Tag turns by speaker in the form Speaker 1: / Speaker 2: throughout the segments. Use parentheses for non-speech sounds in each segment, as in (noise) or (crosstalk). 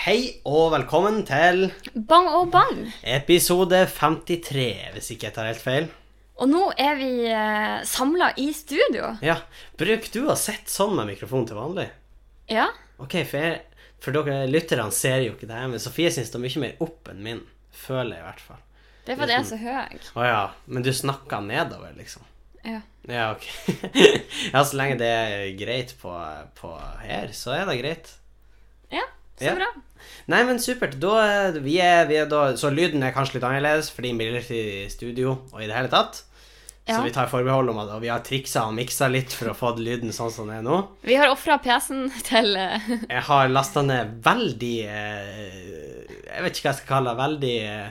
Speaker 1: Hei og velkommen til
Speaker 2: Bang og bang.
Speaker 1: episode 53, hvis ikke jeg tar helt feil.
Speaker 2: Og nå er vi eh, samla i studio.
Speaker 1: Ja, Bruk du å sitte sånn med mikrofon til vanlig?
Speaker 2: Ja.
Speaker 1: Ok, For, jeg, for dere lytterne ser jo ikke det, her, men Sofie syns det er mye mer opp enn min. Føler jeg i hvert fall.
Speaker 2: Det er fordi jeg er så høy.
Speaker 1: Å ja, men du snakker nedover, liksom?
Speaker 2: Ja.
Speaker 1: Ja, ok. (laughs) ja, så lenge det er greit på, på her, så er det greit.
Speaker 2: ja så
Speaker 1: Ja.
Speaker 2: bra.
Speaker 1: Nei, men supert. Da, eh, vi er, vi er da, så lyden er kanskje litt annerledes, fordi vi er i studio og i det hele tatt. Så
Speaker 2: Ja.
Speaker 1: vi tar forbehold om at og vi har triksa og miksa litt for å få lyden sånn som den er nå.
Speaker 2: Vi har ofra PC-en til eh,
Speaker 1: Jeg har lasta ned veldig eh, Jeg vet ikke hva jeg skal kalle det. Veldig eh,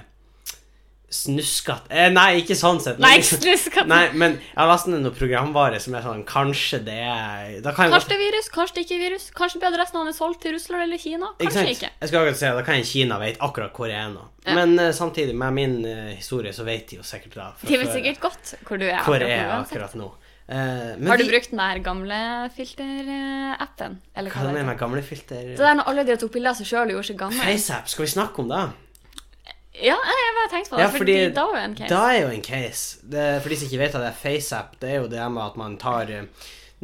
Speaker 1: snuskete eh, (laughs) Nei, ikke sånn sett.
Speaker 2: Nei,
Speaker 1: men-
Speaker 2: ekskluskatten.
Speaker 1: nei, men jeg har lasta ned noe programvare som er sånn Kanskje det er da kan jeg
Speaker 2: Kanskje det er virus, kanskje det ikke er virus. Kanskje blir adressen hans solgt til Russland eller Kina. Kanskje
Speaker 1: sant?
Speaker 2: ikke.
Speaker 1: Jeg skal akkurat si at Da kan Kina vite akkurat hvor jeg er nå.
Speaker 2: Ja.
Speaker 1: Men eh, samtidig, med min eh, historie, så vet de jo sikkert da. fra
Speaker 2: De vet
Speaker 1: før, eh,
Speaker 2: sikkert godt hvor du er.
Speaker 1: hvor
Speaker 2: akkurat
Speaker 1: jeg er
Speaker 2: nå, uansett.
Speaker 1: akkurat nå. Eh, men
Speaker 2: Har du
Speaker 1: vi-
Speaker 2: brukt den der gamle filterappen? Eller
Speaker 1: Hva
Speaker 2: hva
Speaker 1: er det
Speaker 2: det heter?
Speaker 1: med gamle filter?
Speaker 2: Det der når alle drev tok bilder av seg sjøl og gjorde seg gamle.
Speaker 1: FaceApp, skal vi snakke om det?
Speaker 2: Ja, jeg bare tenkte på det.
Speaker 1: Ja,
Speaker 2: fordi,
Speaker 1: fordi
Speaker 2: da var jo en case.
Speaker 1: Da er jo en case. Det, for de som ikke vet at det er FaceApp, det er jo det med at man tar eh,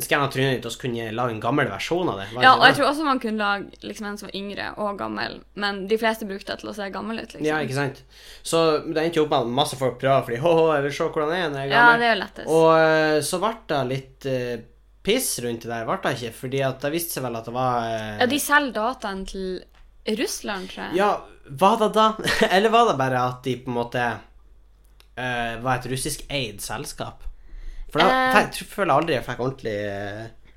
Speaker 1: skanner trynet ditt og så kunne lage en gammel versjon av det. Var det
Speaker 2: Ja,
Speaker 1: ikke
Speaker 2: og jeg
Speaker 1: det?
Speaker 2: tror også man kunne lage liksom, en som var yngre og gammel, men de fleste brukte det til å se gammel ut, liksom.
Speaker 1: Ja, ikke sant? Så det endte jo opp med at masse folk prøver fordi «Hå, hå, jeg vil se hvordan jeg er når jeg er
Speaker 2: Ja,
Speaker 1: gammel.
Speaker 2: det er jo lettest.
Speaker 1: Og eh, så ble det litt eh, piss rundt det der, ble det ikke? Fordi at det viste seg vel at det var eh,
Speaker 2: Ja, de selger dataen til Russland, tror jeg.
Speaker 1: Ja, var det da? (laughs) Eller var det bare at de på en måte eh, var et russisk eid selskap? For da
Speaker 2: Eh.
Speaker 1: fikk- jeg føler jeg aldri jeg fikk ordentlig eh,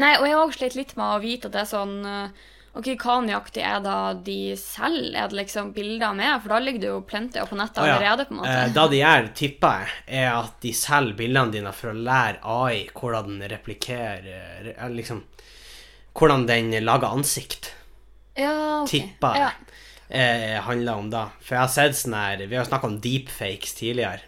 Speaker 2: Nei, og jeg har også slitt litt med å vite at det er sånn eh, Ok, hva nøyaktig er da de selger? Er det liksom bilder med? For da ligger det jo plenty på nettet
Speaker 1: Å ja.
Speaker 2: allerede, på en måte.
Speaker 1: Eh, Da de gjør, tipper jeg, er at de selger bildene dine for å lære AI hvordan den replikerer re- eller liksom, Hvordan den lager ansikt.
Speaker 2: ja, ok.
Speaker 1: Tipper jeg.
Speaker 2: Ja.
Speaker 1: eh, handler om da. For jeg har sett sånn her Vi har snakka om deepfakes tidligere.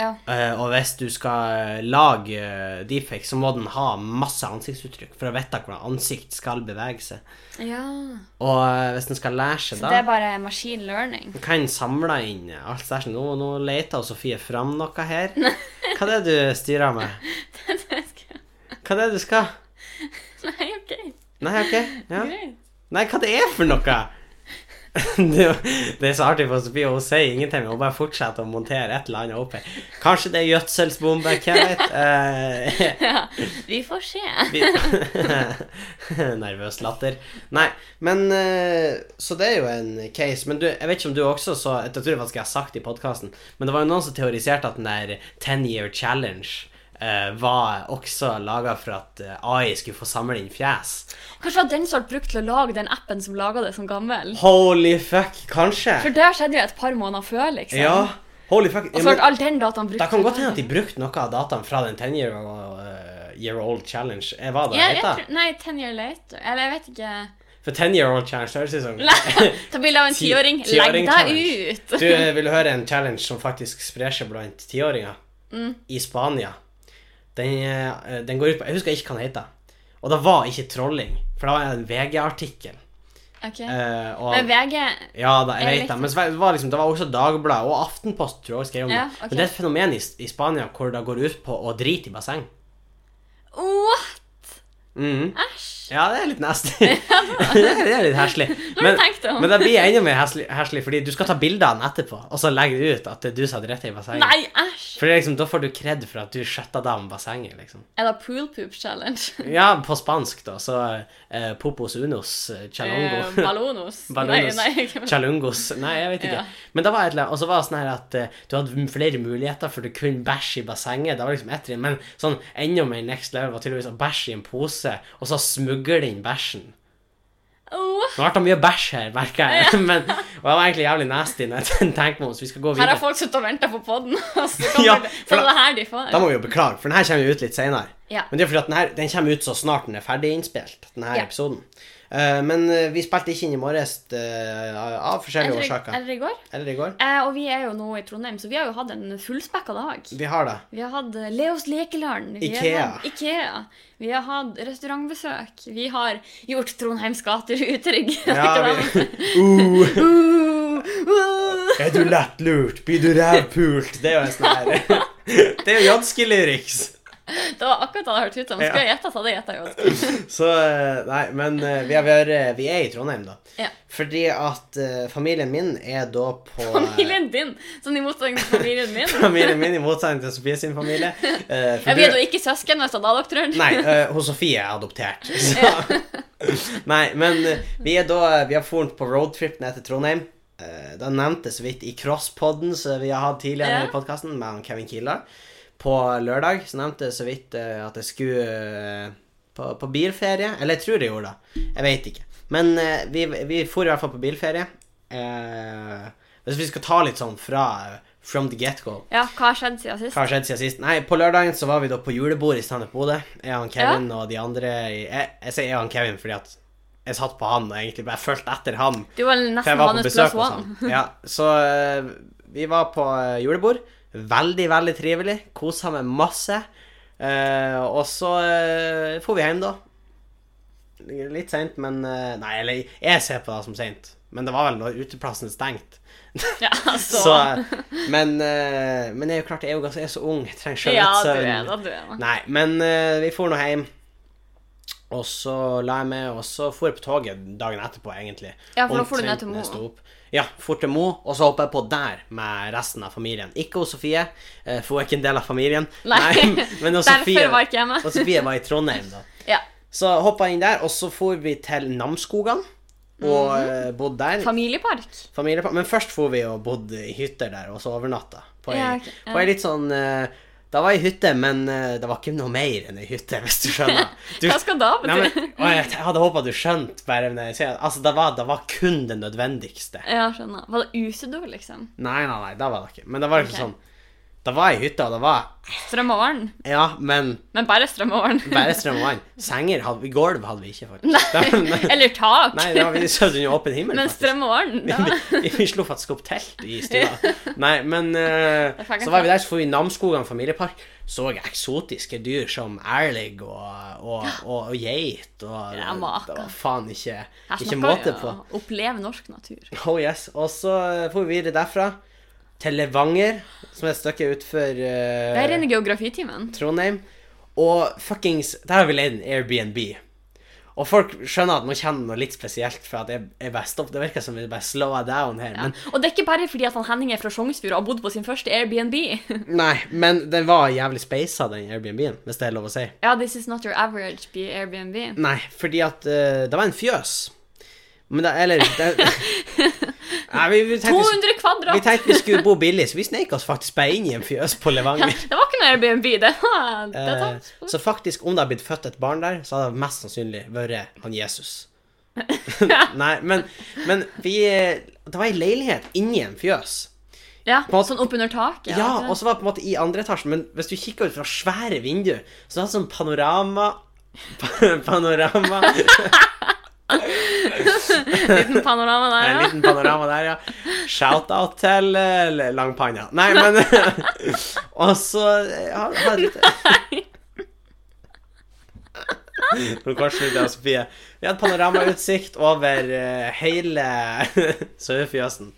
Speaker 2: ja.
Speaker 1: Eh, og hvis du skal lage eh, deepfake, så må den ha masse ansiktsuttrykk for å vite hvordan ansikt skal bevege seg.
Speaker 2: ja.
Speaker 1: Og eh, hvis den skal lære seg
Speaker 2: Så
Speaker 1: da
Speaker 2: det er bare machine learning. (laughs)
Speaker 1: Hva en samler inn alt det der. Nå, nå leter Sofie fram noe
Speaker 2: (laughs)
Speaker 1: her. Hva er det du styrer med? Hva er det du skal?
Speaker 2: Nei, OK.
Speaker 1: Nei, ok. Ja.
Speaker 2: Greit.
Speaker 1: Nei, hva det er for noe? (laughs) Det er jo- det er så artig for Sofie, hun sier ingenting, hun bare fortsetter å montere et eller annet opp her. Kanskje det er gjødselsbombe, hvem vet? Eh,
Speaker 2: Ja, vi får se.
Speaker 1: vi- (laughs) Nervøs latter. Nei, men eh, Så det er jo en case. Men du, jeg vet ikke om du også så Jeg tror faktisk jeg har sagt det i podkasten, men det var jo noen som teoriserte at den der ten year challenge eh, var også laga for at eh, AI skulle få samle inn fjes.
Speaker 2: Kanskje var den som ble brukt til å lage den appen som laga det som gammel?
Speaker 1: Holy fuck, kanskje?
Speaker 2: For det skjedde jo et par måneder før, liksom.
Speaker 1: Ja, holy fuck.
Speaker 2: Og
Speaker 1: Ja,
Speaker 2: så ble
Speaker 1: men,
Speaker 2: all den dataen brukt.
Speaker 1: det kan godt hende at de brukte noe av dataen fra den 10 year, eh, year old challenge. Eh, Hva det
Speaker 2: ja, jeg
Speaker 1: heter
Speaker 2: tror, Nei, ten year later. Eller jeg vet
Speaker 1: (laughs)
Speaker 2: ikke.
Speaker 1: For 10 year old challenge høres ut som
Speaker 2: Ta bilde av en
Speaker 1: Ti-
Speaker 2: tiåring. Legg
Speaker 1: tiåring challenge.
Speaker 2: deg (laughs) ut!
Speaker 1: Du eh, vil høre en challenge som faktisk sprer seg blant tiåringer
Speaker 2: Mm.
Speaker 1: i Spania. Den, eh, den går ut på Jeg husker ikke hva den heter. Og det var ikke trolling, for det var en VG-artikkel.
Speaker 2: Ok.
Speaker 1: Eh, og-
Speaker 2: Men VG
Speaker 1: Ja, da, jeg
Speaker 2: Jeg
Speaker 1: vet
Speaker 2: vet
Speaker 1: det. Men så var- det var, liksom, det var også Dagbladet og Aftenposten tror jeg også skrev om
Speaker 2: sånn? Ja,
Speaker 1: det.
Speaker 2: ok.
Speaker 1: Men det er et fenomen i, S- i Spania hvor det går ut på å drite i basseng.
Speaker 2: Åh, Mm.
Speaker 1: Mhm.
Speaker 2: æsj!
Speaker 1: Ja, det er litt nasty. (laughs) det er det er litt
Speaker 2: (laughs)
Speaker 1: heslig. Men,
Speaker 2: tenkt det om.
Speaker 1: men det blir enda mer heslig, heslig, fordi du skal ta bilder av den etterpå, og så legger du ut at det er du som har dritt i bassenget.
Speaker 2: Nei, æsj!
Speaker 1: For det er liksom, da får du kred for at du skjøtta down bassenget, liksom.
Speaker 2: Er det pool poop challenge?
Speaker 1: Ja, på spansk, da, så eh, Popos unos eh,
Speaker 2: Eh,
Speaker 1: (laughs) chalongo.
Speaker 2: Ballonos.
Speaker 1: Ballonos.
Speaker 2: Nei, nei. ikke-
Speaker 1: Chalungos. Nei, jeg vet ikke.
Speaker 2: Ja.
Speaker 1: Men da var et eller annet, og så var det sånn her at eh, du hadde flere muligheter for du kunne bæsje i bassenget. Det var liksom ett trinn, men sånn enda mer next level var tydeligvis å bæsje i en pose, og så smugle inn bæsjen.
Speaker 2: Åh,
Speaker 1: Nå ble det mye bæsj her, merker jeg. (laughs) Men, og det var egentlig jævlig nasty når jeg (laughs) tenker meg om, så vi skal gå
Speaker 2: her har
Speaker 1: videre.
Speaker 2: folk sittet og venta på poden, (laughs) og så kommer
Speaker 1: Ja,
Speaker 2: det
Speaker 1: for
Speaker 2: Så er
Speaker 1: da-
Speaker 2: det her de får.
Speaker 1: Da må vi jo beklage, for den her kommer jo ut litt senere.
Speaker 2: Ja.
Speaker 1: Men det er fordi at den her den kommer ut så snart den er ferdig innspilt, den her
Speaker 2: Ja.
Speaker 1: episoden. Eh, men eh, vi spilte ikke inn i morges eh, av forskjellige
Speaker 2: Eller, i-
Speaker 1: årsaker.
Speaker 2: eller i går.
Speaker 1: Eller i går.
Speaker 2: Eh, og vi er jo nå i Trondheim, så vi har jo hatt en fullspekka dag.
Speaker 1: Vi har det.
Speaker 2: Vi har hatt eh, Leos lekeland. Vi
Speaker 1: Ikea.
Speaker 2: Har hatt Ikea. Vi har hatt restaurantbesøk. Vi har gjort Trondheims gater utrygge. (laughs)
Speaker 1: Ja, vi, (laughs) uh,
Speaker 2: Uh, uh.
Speaker 1: er du lettlurt? Blir du rævpult? Det er jo en sånn her (laughs) Det er jo Jodski-lyrics.
Speaker 2: Det var akkurat det det hørtes ut som. Skulle jeg gjette, så hadde jeg gjetta jo.
Speaker 1: Så eh, Nei, men eh, vi, har vært, vi er i Trondheim, da.
Speaker 2: Ja.
Speaker 1: Fordi at eh, familien min er da på
Speaker 2: Familien din, sånn i motsetning til familien min.
Speaker 1: (laughs) Familien min, i motsetning til Sofie sin familie. eh, for
Speaker 2: Jeg
Speaker 1: du-
Speaker 2: blir jo ikke søsken hvis det er da dere (laughs) tror.
Speaker 1: Nei, uh, hun Sofie er adoptert. (laughs) Så. Nei, men eh, vi er da Vi har fornt på roadtrip ned til Trondheim. Uh, da nevnte jeg så vidt i crosspodden som vi har hatt tidligere
Speaker 2: Ja.
Speaker 1: i podkasten, med han Kevin Kildahl. På lørdag så nevnte jeg så vidt eh, at jeg skulle eh, på, på bilferie. Eller jeg tror jeg gjorde det. Jeg vet ikke. Men eh, vi, vi for i hvert fall på bilferie. Eh, hvis vi skal ta litt sånn fra from the get-go
Speaker 2: Ja, hva har skjedd siden sist?
Speaker 1: hva har skjedd siden sist? Nei, på lørdagen så var vi da på julebord i Standup Bodø. Jeg og han Kevin og de andre i, jeg, jeg sier jeg og han Kevin fordi at jeg satt på han og egentlig bare fulgte etter han.
Speaker 2: Du
Speaker 1: For
Speaker 2: var
Speaker 1: jeg var
Speaker 2: nesten
Speaker 1: på
Speaker 2: hans
Speaker 1: besøk sånn. hos
Speaker 2: plus one.
Speaker 1: han. Ja, så eh, vi var på eh, julebord. Veldig, veldig trivelig. Kosa meg masse. Eh, og så uh, for vi hjem, da. Litt seint, men eh, Nei, eller jeg ser på det som seint. Men det var vel når uteplassen stengt.
Speaker 2: Ja, altså.
Speaker 1: Så, men, eh, men jeg er jo klart, jeg er jo ganske jeg er så ung. Jeg trenger sjøl
Speaker 2: Ja,
Speaker 1: litt
Speaker 2: du
Speaker 1: søvn.
Speaker 2: er da, du er da.
Speaker 1: Nei, men eh, vi for nå hjem. Og så la jeg meg, og så for jeg på toget dagen etterpå, egentlig.
Speaker 2: Ja, for da for du ned til
Speaker 1: Omtrent
Speaker 2: Mo.
Speaker 1: når jeg sto opp. Ja, for til Mo, og så hopper jeg på der med resten av familien. Ikke hos Sofie, eh, for hun er ikke en del av familien.
Speaker 2: Nei,
Speaker 1: (laughs) men hos
Speaker 2: derfor
Speaker 1: Sofie,
Speaker 2: var jeg ikke hjemme.
Speaker 1: og Sofie var i Trondheim, da.
Speaker 2: Ja.
Speaker 1: Så hoppa jeg inn der, og så for vi til Namsskogan, og
Speaker 2: Mhm.
Speaker 1: eh, bodde der
Speaker 2: Familiepark.
Speaker 1: familiepar. Men først for vi og bodde i hytter der, og så overnatta. På ei,
Speaker 2: Ja, ok, ja.
Speaker 1: på ei litt sånn eh, Det var ei hytte, men eh, det var ikke noe mer enn ei hytte, hvis du skjønner. Du,
Speaker 2: Hva skal (laughs) da
Speaker 1: Nei,
Speaker 2: bety? (laughs)
Speaker 1: men, å, jeg, jeg hadde håpa du skjønte, bare når jeg sier det. Altså, det var, det var kun det nødvendigste.
Speaker 2: Ja, skjønner. Var det utedo, liksom?
Speaker 1: Nei, nei, nei, det var det ikke. Men det var
Speaker 2: Ok.
Speaker 1: liksom sånn Det var ei hytte, og det var
Speaker 2: Strømmålen?
Speaker 1: Ja, men
Speaker 2: Men bare strømmålen.
Speaker 1: bare strøm og vann. Senger hadde vi, gulv hadde vi
Speaker 2: (laughs)
Speaker 1: ikke, faktisk. Det- (laughs) Nei,
Speaker 2: Eller tak.
Speaker 1: nei, det var, vi sov under åpen himmel,
Speaker 2: Men
Speaker 1: faktisk. (laughs)
Speaker 2: strømmålen, da?
Speaker 1: vi, vi slo faktisk opp telt i stua. Nei, men eh,
Speaker 2: Det er faktisk
Speaker 1: så var vi der, så for vi Namsskogan familiepark. Så eksotiske dyr som ærligg og, og, og, og geit. Og,
Speaker 2: Ja,
Speaker 1: det
Speaker 2: makan.
Speaker 1: var faen ikke,
Speaker 2: Her
Speaker 1: ikke
Speaker 2: snakker
Speaker 1: måte
Speaker 2: vi
Speaker 1: på.
Speaker 2: om å Oppleve norsk natur.
Speaker 1: Oh yes. Og så eh, for vi videre derfra til Levanger, som er et stykke utenfor
Speaker 2: Det er
Speaker 1: uh,
Speaker 2: rene geografitimen.
Speaker 1: Trondheim. Og fuckings Der har vi leid en Airbnb. Og folk skjønner at man kjenner noe litt spesielt, for at jeg, jeg bare stopp, det virker som vi bare slower down her.
Speaker 2: Ja.
Speaker 1: Men
Speaker 2: Og det er ikke bare fordi at han Henning er fra Sjongsfjord og har bodd på sin første Airbnb. (laughs)
Speaker 1: Nei, men den var jævlig speisa, den Airbnb-en, hvis det er lov å si.
Speaker 2: ja, this is not your average be Airbnb.
Speaker 1: Nei, fordi at eh, det var en fjøs. Men det Eller (laughs) det, Nei, vi, vi, tenkte,
Speaker 2: 200
Speaker 1: vi
Speaker 2: kvadrat!
Speaker 1: tenkte vi skulle bo billig, så vi sneik oss faktisk bare inn i en fjøs (laughs) på
Speaker 2: (laughs) Ja,
Speaker 1: Levanger.
Speaker 2: det var ikke noe Airbnb, det var det
Speaker 1: Eh,
Speaker 2: var-
Speaker 1: så faktisk, om det hadde blitt født et barn der, så hadde det mest sannsynlig vært han (laughs) Jesus. Nei, men, men vi eh, Det var ei leilighet inni en fjøs.
Speaker 2: Ja,
Speaker 1: på-
Speaker 2: sånn oppunder taket.
Speaker 1: Ja,
Speaker 2: ikke
Speaker 1: og så var det på en måte i andre etasjen, men hvis du kikker ut fra svære vinduer, så det er sånn panorama (laughs) Panorama
Speaker 2: det? Liten panorama der,
Speaker 1: En
Speaker 2: ja.
Speaker 1: liten panorama der, ja. Shout-out til eh, Langpanna. Nei, men (laughs) Og så eh, har- har et (laughs) Nå kortslutter jeg og Sofie. Vi hadde panoramautsikt over eh, hele (laughs) sauefjøsen.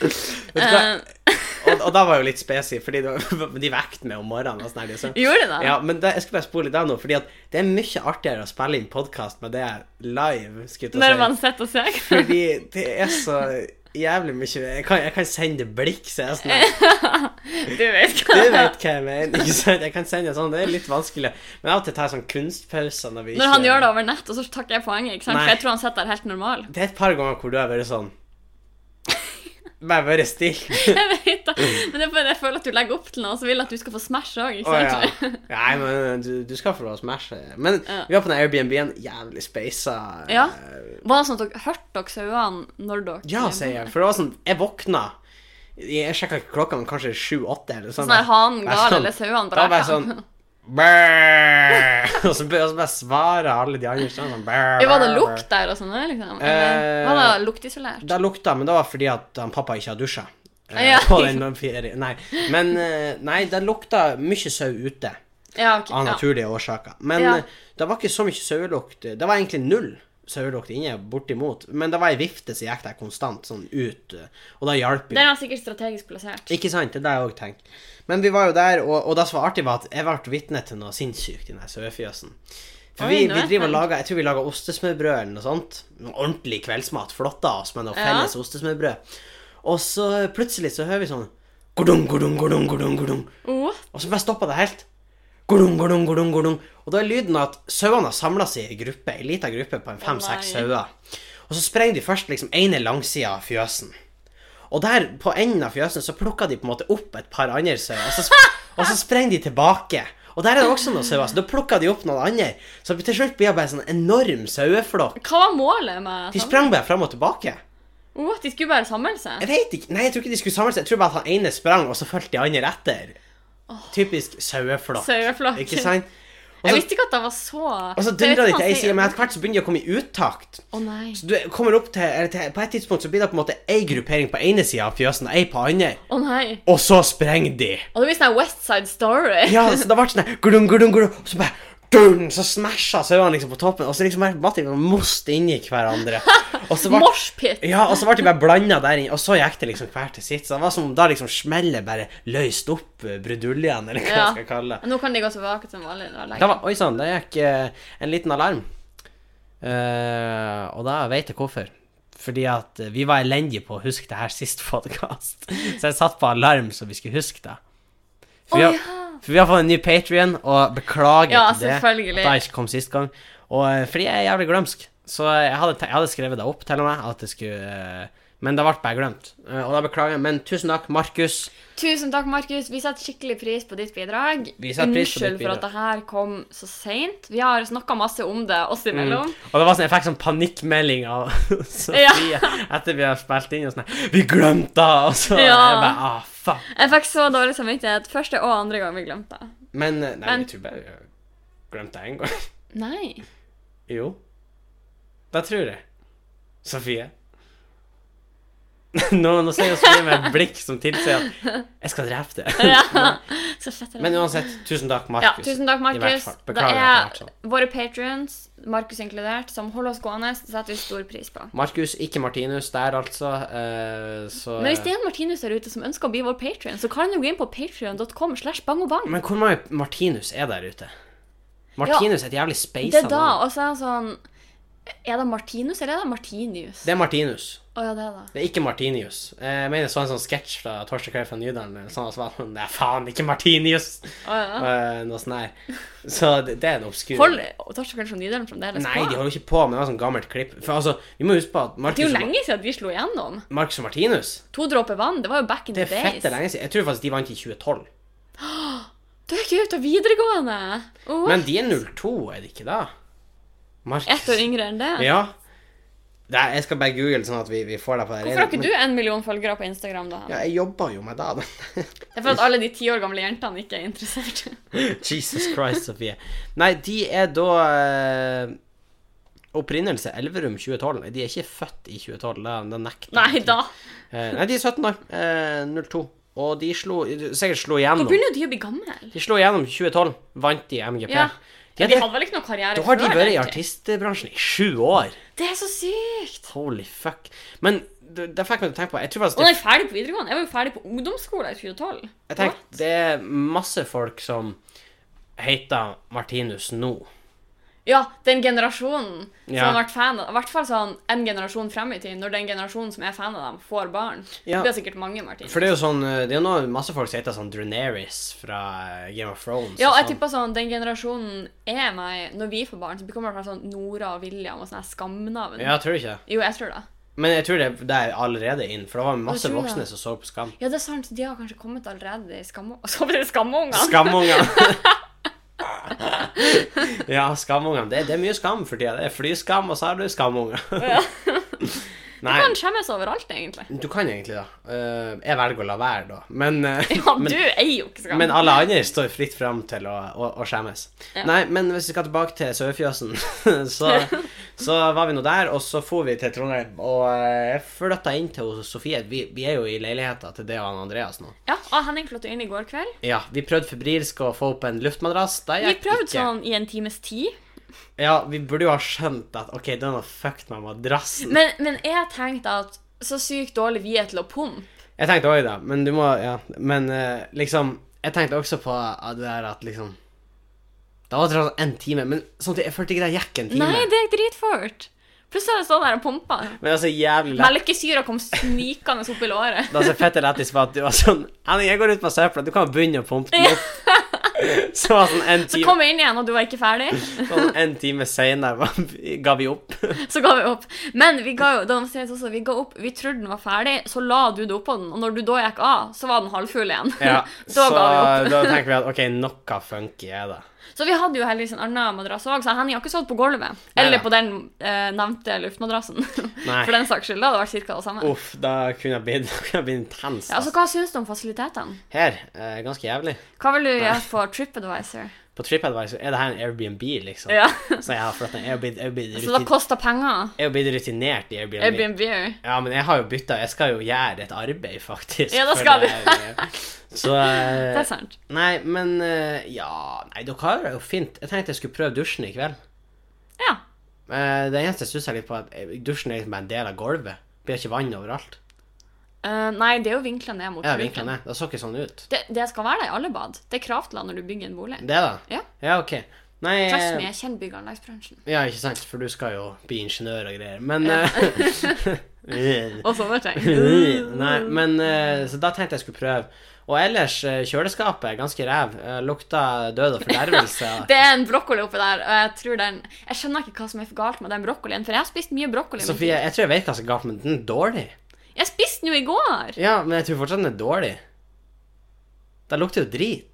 Speaker 1: Vet du hva?
Speaker 2: Eh,
Speaker 1: Og, og da var jeg jo litt spesi, fordi det var- de vekte meg om morgenen. og sånn her, liksom.
Speaker 2: Eh, gjorde det?
Speaker 1: Ja, men det, jeg skulle bare spole litt av nå, fordi at det er mye artigere å spille inn podkast med det live. skulle
Speaker 2: Når
Speaker 1: jeg til å
Speaker 2: man sitter og ser? (laughs)
Speaker 1: si. Fordi det er så jævlig mye Jeg kan, jeg kan sende blikk, så jeg er sånn her,
Speaker 2: Du vet hva
Speaker 1: Du vet hva jeg mener. ikke sant? Jeg kan sende sånn, det er litt vanskelig. Men av og til tar jeg sånn kunstpauser når vi
Speaker 2: Når han gjør det over nett, og så takker jeg poenget, ikke sant?
Speaker 1: Nei.
Speaker 2: For jeg tror han sitter der helt normal.
Speaker 1: Det er et par ganger hvor du har vært sånn Bare vært stille.
Speaker 2: (laughs) Jeg vet det. Men det er bare, jeg føler at du legger opp til noe, og så vil jeg at du skal få smash òg, ikke
Speaker 1: Å ja.
Speaker 2: sant? (laughs)
Speaker 1: (laughs) Nei, men eh, du, du skal få lov å smashe. Men
Speaker 2: Ja.
Speaker 1: vi var på den Airbnb-en. Jævlig eh, speisa.
Speaker 2: Ja. Var det sånn at dere hørte dere sauene når dere
Speaker 1: Ja, sier jeg. For det var sånn Jeg våkna Jeg sjekka ikke klokka, men kanskje sju-åtte eller sånn.
Speaker 2: Sånn at hanen
Speaker 1: Jeg er
Speaker 2: gal
Speaker 1: sånn-
Speaker 2: eller
Speaker 1: Da
Speaker 2: sauene
Speaker 1: var
Speaker 2: bræka?
Speaker 1: jeg sånn Brrr. (laughs) og så be- og så bare svarer alle de andre stemmene sånn brrr,
Speaker 2: Ja, var det
Speaker 1: brrr,
Speaker 2: lukt der og sånn? Liksom? Eller
Speaker 1: Eh,
Speaker 2: var det
Speaker 1: brrr.
Speaker 2: luktisolert?
Speaker 1: Det lukta, men det var fordi at han pappa ikke har dusja. Eh,
Speaker 2: Ja.
Speaker 1: (laughs) på den ferien. Nei. Men eh, nei, det lukta mye sau ute,
Speaker 2: Ja, ok.
Speaker 1: av
Speaker 2: Ja.
Speaker 1: naturlige årsaker. Men
Speaker 2: Ja.
Speaker 1: eh, det var ikke så mye sauelukt. Det var egentlig null sauelukt inne, bortimot. Men det var ei vifte som gikk der konstant, sånn ut, eh, og det hjalp jo.
Speaker 2: Den var sikkert strategisk plassert.
Speaker 1: Ikke sant, det er det jeg òg tenker. Men vi var jo der, og, og det som var artig, var at jeg ble vitne til noe sinnssykt i den her sauefjøsen. For
Speaker 2: Oi,
Speaker 1: vi,
Speaker 2: nå
Speaker 1: vi
Speaker 2: er jeg
Speaker 1: driver og
Speaker 2: spent.
Speaker 1: lager, Jeg tror vi lager ostesmørbrød eller noe sånt. Noe Ordentlig kveldsmat. Flotta oss med noe
Speaker 2: Ja.
Speaker 1: felles ostesmørbrød. Og så plutselig så hører vi sånn godung, godung, godung, godung, godung.
Speaker 2: Oh,
Speaker 1: Og så bare stoppa det helt. Godung, godung, godung, godung. Og da er lyden at sauene har samla seg i en gruppe, en liten gruppe på en fem-seks
Speaker 2: nei.
Speaker 1: sauer. Og så sprenger de først liksom ene langsida av fjøsen. Og der på enden av fjøsen så plukker de på en måte opp et par andre sauer, og så,
Speaker 2: (laughs)
Speaker 1: sp- og så sprenger de tilbake. Og der er det også noen sauer, så da plukker de opp noen andre. Så til slutt blir det bare en sånn enorm saueflokk.
Speaker 2: hva var målet med
Speaker 1: De
Speaker 2: sammen?
Speaker 1: sprang bare fram og tilbake.
Speaker 2: Oh, de skulle bare samle seg?
Speaker 1: Jeg vet ikke, nei, jeg tror ikke de skulle samle seg. Jeg tror bare at han ene sprang, og så fulgte de andre etter. Typisk saueflokk.
Speaker 2: Saueflokk.
Speaker 1: Ikke sant? Og
Speaker 2: Jeg
Speaker 1: så,
Speaker 2: visste ikke at det var så
Speaker 1: og så dundra de til ei side, men etter hvert så begynner de å komme i uttakt.
Speaker 2: Å nei.
Speaker 1: Så du kommer opp til, eller til På et tidspunkt så blir det på en måte ei gruppering på ene sida av fjøsen og ei på andre,
Speaker 2: Å nei.
Speaker 1: og så sprenger de.
Speaker 2: Og det blir sånn her West Side Story.
Speaker 1: Ja, så det ble sånn der, glung, glung, glung, og så bare dun, så smasha sauene liksom på toppen, og så liksom bare måtte de bare most inni hverandre. Og så
Speaker 2: (laughs)
Speaker 1: ble
Speaker 2: Moshpit.
Speaker 1: ja, og så ble de bare blanda der inne, og så gikk det liksom hver til sitt. Så det var som om da liksom smellet bare løst opp eh, bruduljen, eller hva
Speaker 2: Ja.
Speaker 1: jeg skal kalle det.
Speaker 2: (laughs) Nå kan de gå tilbake til vanlig. Det var lenge.
Speaker 1: Da var, oi sann, der gikk eh, en liten alarm. Eh, og da vet jeg hvorfor. Fordi at eh, vi var elendige på å huske det her sist (laughs) podkast. Så jeg satt på alarm så vi skulle huske det. For vi,
Speaker 2: Å,
Speaker 1: har, for vi har fått en ny Patrion, og beklager
Speaker 2: Ja,
Speaker 1: til det
Speaker 2: selvfølgelig.
Speaker 1: at jeg ikke kom sist gang. Og eh, fordi jeg er jævlig glømsk. Så jeg hadde, te- jeg hadde skrevet det opp, til og med. At det skulle, eh, men det ble bare glemt. Eh, og da beklager jeg. Men tusen takk, Markus.
Speaker 2: Tusen takk, Markus. Vi setter skikkelig pris på ditt bidrag.
Speaker 1: Vi setter pris på ditt
Speaker 2: Unnskyld for
Speaker 1: bidrag.
Speaker 2: at det her kom så seint. Vi har snakka masse om det oss
Speaker 1: Mm.
Speaker 2: imellom.
Speaker 1: Og det var sånn, jeg fikk sånn panikkmelding av (laughs) Sofie
Speaker 2: Ja.
Speaker 1: (laughs) etter vi har spilt inn. og sånn, 'Vi glemte det!' Og så
Speaker 2: Ja.
Speaker 1: jeg bare, ah, fuck.
Speaker 2: Jeg fikk så dårlig samvittighet første og andre gang vi glemte det.
Speaker 1: Men eh, nei,
Speaker 2: Men-
Speaker 1: jeg tror bare jeg glemte det én gang. (laughs)
Speaker 2: Nei.
Speaker 1: Jo. Det tror jeg. Sofie. (laughs) Nå, nå ser jeg Sofie med et blikk som tilsier at 'jeg skal drepe deg'.
Speaker 2: Ja. Så fett. er det.
Speaker 1: (laughs) Men uansett, tusen takk,
Speaker 2: Ja,
Speaker 1: Markus.
Speaker 2: tusen takk,
Speaker 1: I hvert
Speaker 2: Markus.
Speaker 1: fall.
Speaker 2: Det
Speaker 1: Beklager at
Speaker 2: er
Speaker 1: det ble sånn.
Speaker 2: våre patrions, Markus inkludert, som holder oss gående. Det setter vi stor pris på.
Speaker 1: Markus, ikke Martinus der, altså. eh, så
Speaker 2: Men hvis det er en Martinus der ute som ønsker å bli vår patrion, så kan han jo gå inn på patrion.com slash bangobang.
Speaker 1: Men hvor mange Martinus er der ute? Martinus er et jævlig speisa
Speaker 2: Det er da,
Speaker 1: navn.
Speaker 2: og så er han sånn Er det Martinus, eller er det Martinius? Å
Speaker 1: Det er Martinus.
Speaker 2: ja, det er det.
Speaker 1: Det er ikke Martinius. Eh, Jeg mener jeg så en sånn sketsj fra Torsdag kveld fra Nydalen. eller Sånn, og så var det sånn, det er faen ikke Martinius!
Speaker 2: Å, ja.
Speaker 1: Eh, Noe sånt der. Så det, det er en obskur
Speaker 2: Ah. Hold Torsdag kveld fra Nydalen fremdeles
Speaker 1: Nei, de
Speaker 2: på?
Speaker 1: holder ikke på med det var sånn gammelt klipp. For altså, vi må huske på at
Speaker 2: Det er
Speaker 1: Marcus,
Speaker 2: jo lenge siden at vi slo igjennom.
Speaker 1: Marcus og Martinus
Speaker 2: To dråper vann, det var jo back in
Speaker 1: Det
Speaker 2: the
Speaker 1: er fette
Speaker 2: days.
Speaker 1: lenge siden. Jeg tror faktisk de vant i 2012.
Speaker 2: Du er ikke ute av videregående! Oh,
Speaker 1: Men de er 02, er de ikke da? Marcus.
Speaker 2: Ett år yngre enn det.
Speaker 1: Ja. Nei, jeg skal bare google sånn at vi, vi får det på det
Speaker 2: Hvorfor har ikke du en million følgere på Instagram, da?
Speaker 1: Ja, jeg jobber jo med det. da.
Speaker 2: Det er for at alle de ti år gamle jentene ikke er interessert.
Speaker 1: (laughs) Jesus Christ, Sofie. Nei, de er da eh, Opprinnelse Elverum 2012. De er ikke født i 2012, det, det nekter jeg.
Speaker 2: Nei da.
Speaker 1: Eh, nei, de er 17 år. Eh, 02. Og de slo Sikkert slo igjennom.
Speaker 2: Nå begynner jo de å bli gamle.
Speaker 1: De slo igjennom i 2012. Vant de MGP.
Speaker 2: Ja.
Speaker 1: De
Speaker 2: De
Speaker 1: hadde-
Speaker 2: hadde vel ikke noe karriere
Speaker 1: da har de vært i
Speaker 2: egentlig.
Speaker 1: artistbransjen i sju år.
Speaker 2: Det er så sykt!
Speaker 1: Holy fuck. Men det, det fikk meg til å tenke på Jeg tror faktisk
Speaker 2: Og
Speaker 1: det,
Speaker 2: når jeg er ferdig på videregående. Jeg var jo ferdig på ungdomsskolen i 2012.
Speaker 1: jeg tenker, det er masse folk som heter Martinus nå.
Speaker 2: Ja, den generasjonen som
Speaker 1: Ja.
Speaker 2: har vært fan av I hvert fall sånn en generasjon frem i tid, når den generasjonen som er fan av dem, får barn.
Speaker 1: Ja.
Speaker 2: Det blir sikkert mange, Martin.
Speaker 1: For det er jo sånn eh, Det er jo noe, masse folk som heter sånn Druneris fra eh, Game of Thrones.
Speaker 2: Ja, og
Speaker 1: og
Speaker 2: jeg
Speaker 1: sånn.
Speaker 2: tipper sånn, den generasjonen er meg Når vi får barn, så kommer det fra sånn Nora og William og sånne her skamnavn.
Speaker 1: Ja, jeg tror ikke
Speaker 2: Jo, jeg tror det.
Speaker 1: Men jeg tror det, det er allerede inn, for det var masse
Speaker 2: tror det.
Speaker 1: voksne som så på Skam.
Speaker 2: Ja, det er sant. De har kanskje kommet allerede i skamme... (laughs) Så blir det skamungene. (laughs)
Speaker 1: Skamungene!
Speaker 2: (laughs)
Speaker 1: ja, skamungene. Det, det er mye skam for tida. Det er flyskam, og så har du skamunger. Nei.
Speaker 2: Du kan skjemmes over alt, egentlig.
Speaker 1: (laughs) Du kan egentlig det. Eh, jeg velger å la være, da. Men, eh,
Speaker 2: Ja,
Speaker 1: (laughs) men,
Speaker 2: du er jo ikke skam.
Speaker 1: men alle andre står fritt fram til å, å, å skjemmes.
Speaker 2: Ja.
Speaker 1: Nei, men hvis vi skal tilbake til Sørfjøsen, (laughs)
Speaker 2: (laughs)
Speaker 1: så, så var vi nå der, og så for vi til Trondheim. Og eh, jeg flytta inn til hos Sofie. Vi, vi er jo i leiligheta til det og han Andreas nå.
Speaker 2: Ja, og Henning flytta inn i går kveld.
Speaker 1: Ja, vi prøvde febrilsk å få opp en luftmadrass. Det
Speaker 2: Vi
Speaker 1: gikk
Speaker 2: prøvde
Speaker 1: ikke.
Speaker 2: sånn i en times tid.
Speaker 1: Ja, vi burde jo ha skjønt at OK, den har fucked meg med madrassen.
Speaker 2: Men, men jeg tenkte at så sykt dårlig vi er til å pumpe.
Speaker 1: Jeg tenkte òg det, men du må Ja. Men eh, liksom Jeg tenkte også på eh, det der at liksom Det var tross alt en time, men samtidig, jeg følte ikke det gikk en time.
Speaker 2: Nei, det er dritfort. Plutselig er det sånn der og pumper.
Speaker 1: Men det var så jævlig lett.
Speaker 2: Melkesyra kom snikende opp i låret.
Speaker 1: Det var så fett og lættis var at du var sånn Henning, jeg går ut med søpla, du kan begynne å pumpe den opp.
Speaker 2: (laughs)
Speaker 1: Så var det sånn en
Speaker 2: Så
Speaker 1: time,
Speaker 2: kom jeg inn igjen, og du var ikke ferdig.
Speaker 1: sånn en time seinere var- ga vi opp.
Speaker 2: Så ga vi opp. Men vi ga jo, da må jeg si det også, vi ga opp, vi trodde den var ferdig, så la du det oppå den. Og når du da gikk av, så var den halvfull igjen.
Speaker 1: Ja,
Speaker 2: (laughs) Da
Speaker 1: så
Speaker 2: ga vi opp.
Speaker 1: da tenker vi at OK, noe funky er det.
Speaker 2: Så vi hadde jo heldigvis en annen madrass òg, så Henning har ikke sovet på gulvet. Eller
Speaker 1: Neida.
Speaker 2: på den eh, nevnte luftmadrassen.
Speaker 1: (laughs) Nei.
Speaker 2: For den saks skyld. Da hadde det vært cirka det samme.
Speaker 1: (laughs) Uff, da kunne jeg blitt, (laughs) kunne jeg blitt intens.
Speaker 2: Ja, altså,
Speaker 1: Altså.
Speaker 2: Hva syns du om fasilitetene?
Speaker 1: Her, eh, ganske jævlig.
Speaker 2: Hva vil du gjøre på TripAdvisor?
Speaker 1: På TripAdvisor er det her en Airbnb, liksom.
Speaker 2: Ja.
Speaker 1: Så jeg har flyttet Jeg har blitt- jeg har blitt
Speaker 2: (laughs) Så det
Speaker 1: rutin-
Speaker 2: koster penger?
Speaker 1: jeg har blitt rutinert i Airbnb.
Speaker 2: Airbnb?
Speaker 1: Ja, men jeg har jo bytta. Jeg skal jo gjøre et arbeid, faktisk.
Speaker 2: Ja, da
Speaker 1: for
Speaker 2: skal du.
Speaker 1: det- (laughs) Så eh,
Speaker 2: Det er sant.
Speaker 1: Nei, men eh, Ja, nei, dere har det jo fint. Jeg tenkte jeg skulle prøve dusjen i kveld.
Speaker 2: Ja.
Speaker 1: Eh, Det eneste jeg stusser litt på, er at eh, dusjen er liksom bare en del av gulvet. Det Blir ikke vann overalt.
Speaker 2: Eh, nei, det er jo vinkla ned mot
Speaker 1: Ja,
Speaker 2: bruken.
Speaker 1: vinkla ned. Det så ikke sånn ut.
Speaker 2: Det, det skal være det i alle bad. Det er krav til det når du bygger en bolig.
Speaker 1: Det, da?
Speaker 2: Ja.
Speaker 1: Ja, OK. Nei eh,
Speaker 2: Trust me, jeg kjenner bygg- og anleggsbransjen.
Speaker 1: Ja, ikke sant, for du skal jo bli ingeniør og greier. Men eh, (laughs)
Speaker 2: Og sånne ting.
Speaker 1: Nei, men eh, Så da tenkte jeg skulle prøve. Og ellers, eh, kjøleskapet er ganske ræv. Eh, Lukta død og fordervelse.
Speaker 2: (laughs) Det er en brokkoli oppi der, og jeg tror den Jeg skjønner ikke hva som er for galt med den brokkolien, for jeg har spist mye brokkoli. i min
Speaker 1: Sofie, jeg tror jeg vet hva som er galt, men den er dårlig.
Speaker 2: tid. Jeg spiste den jo i går!
Speaker 1: Ja, men jeg tror fortsatt den er dårlig. Det lukter jo drit.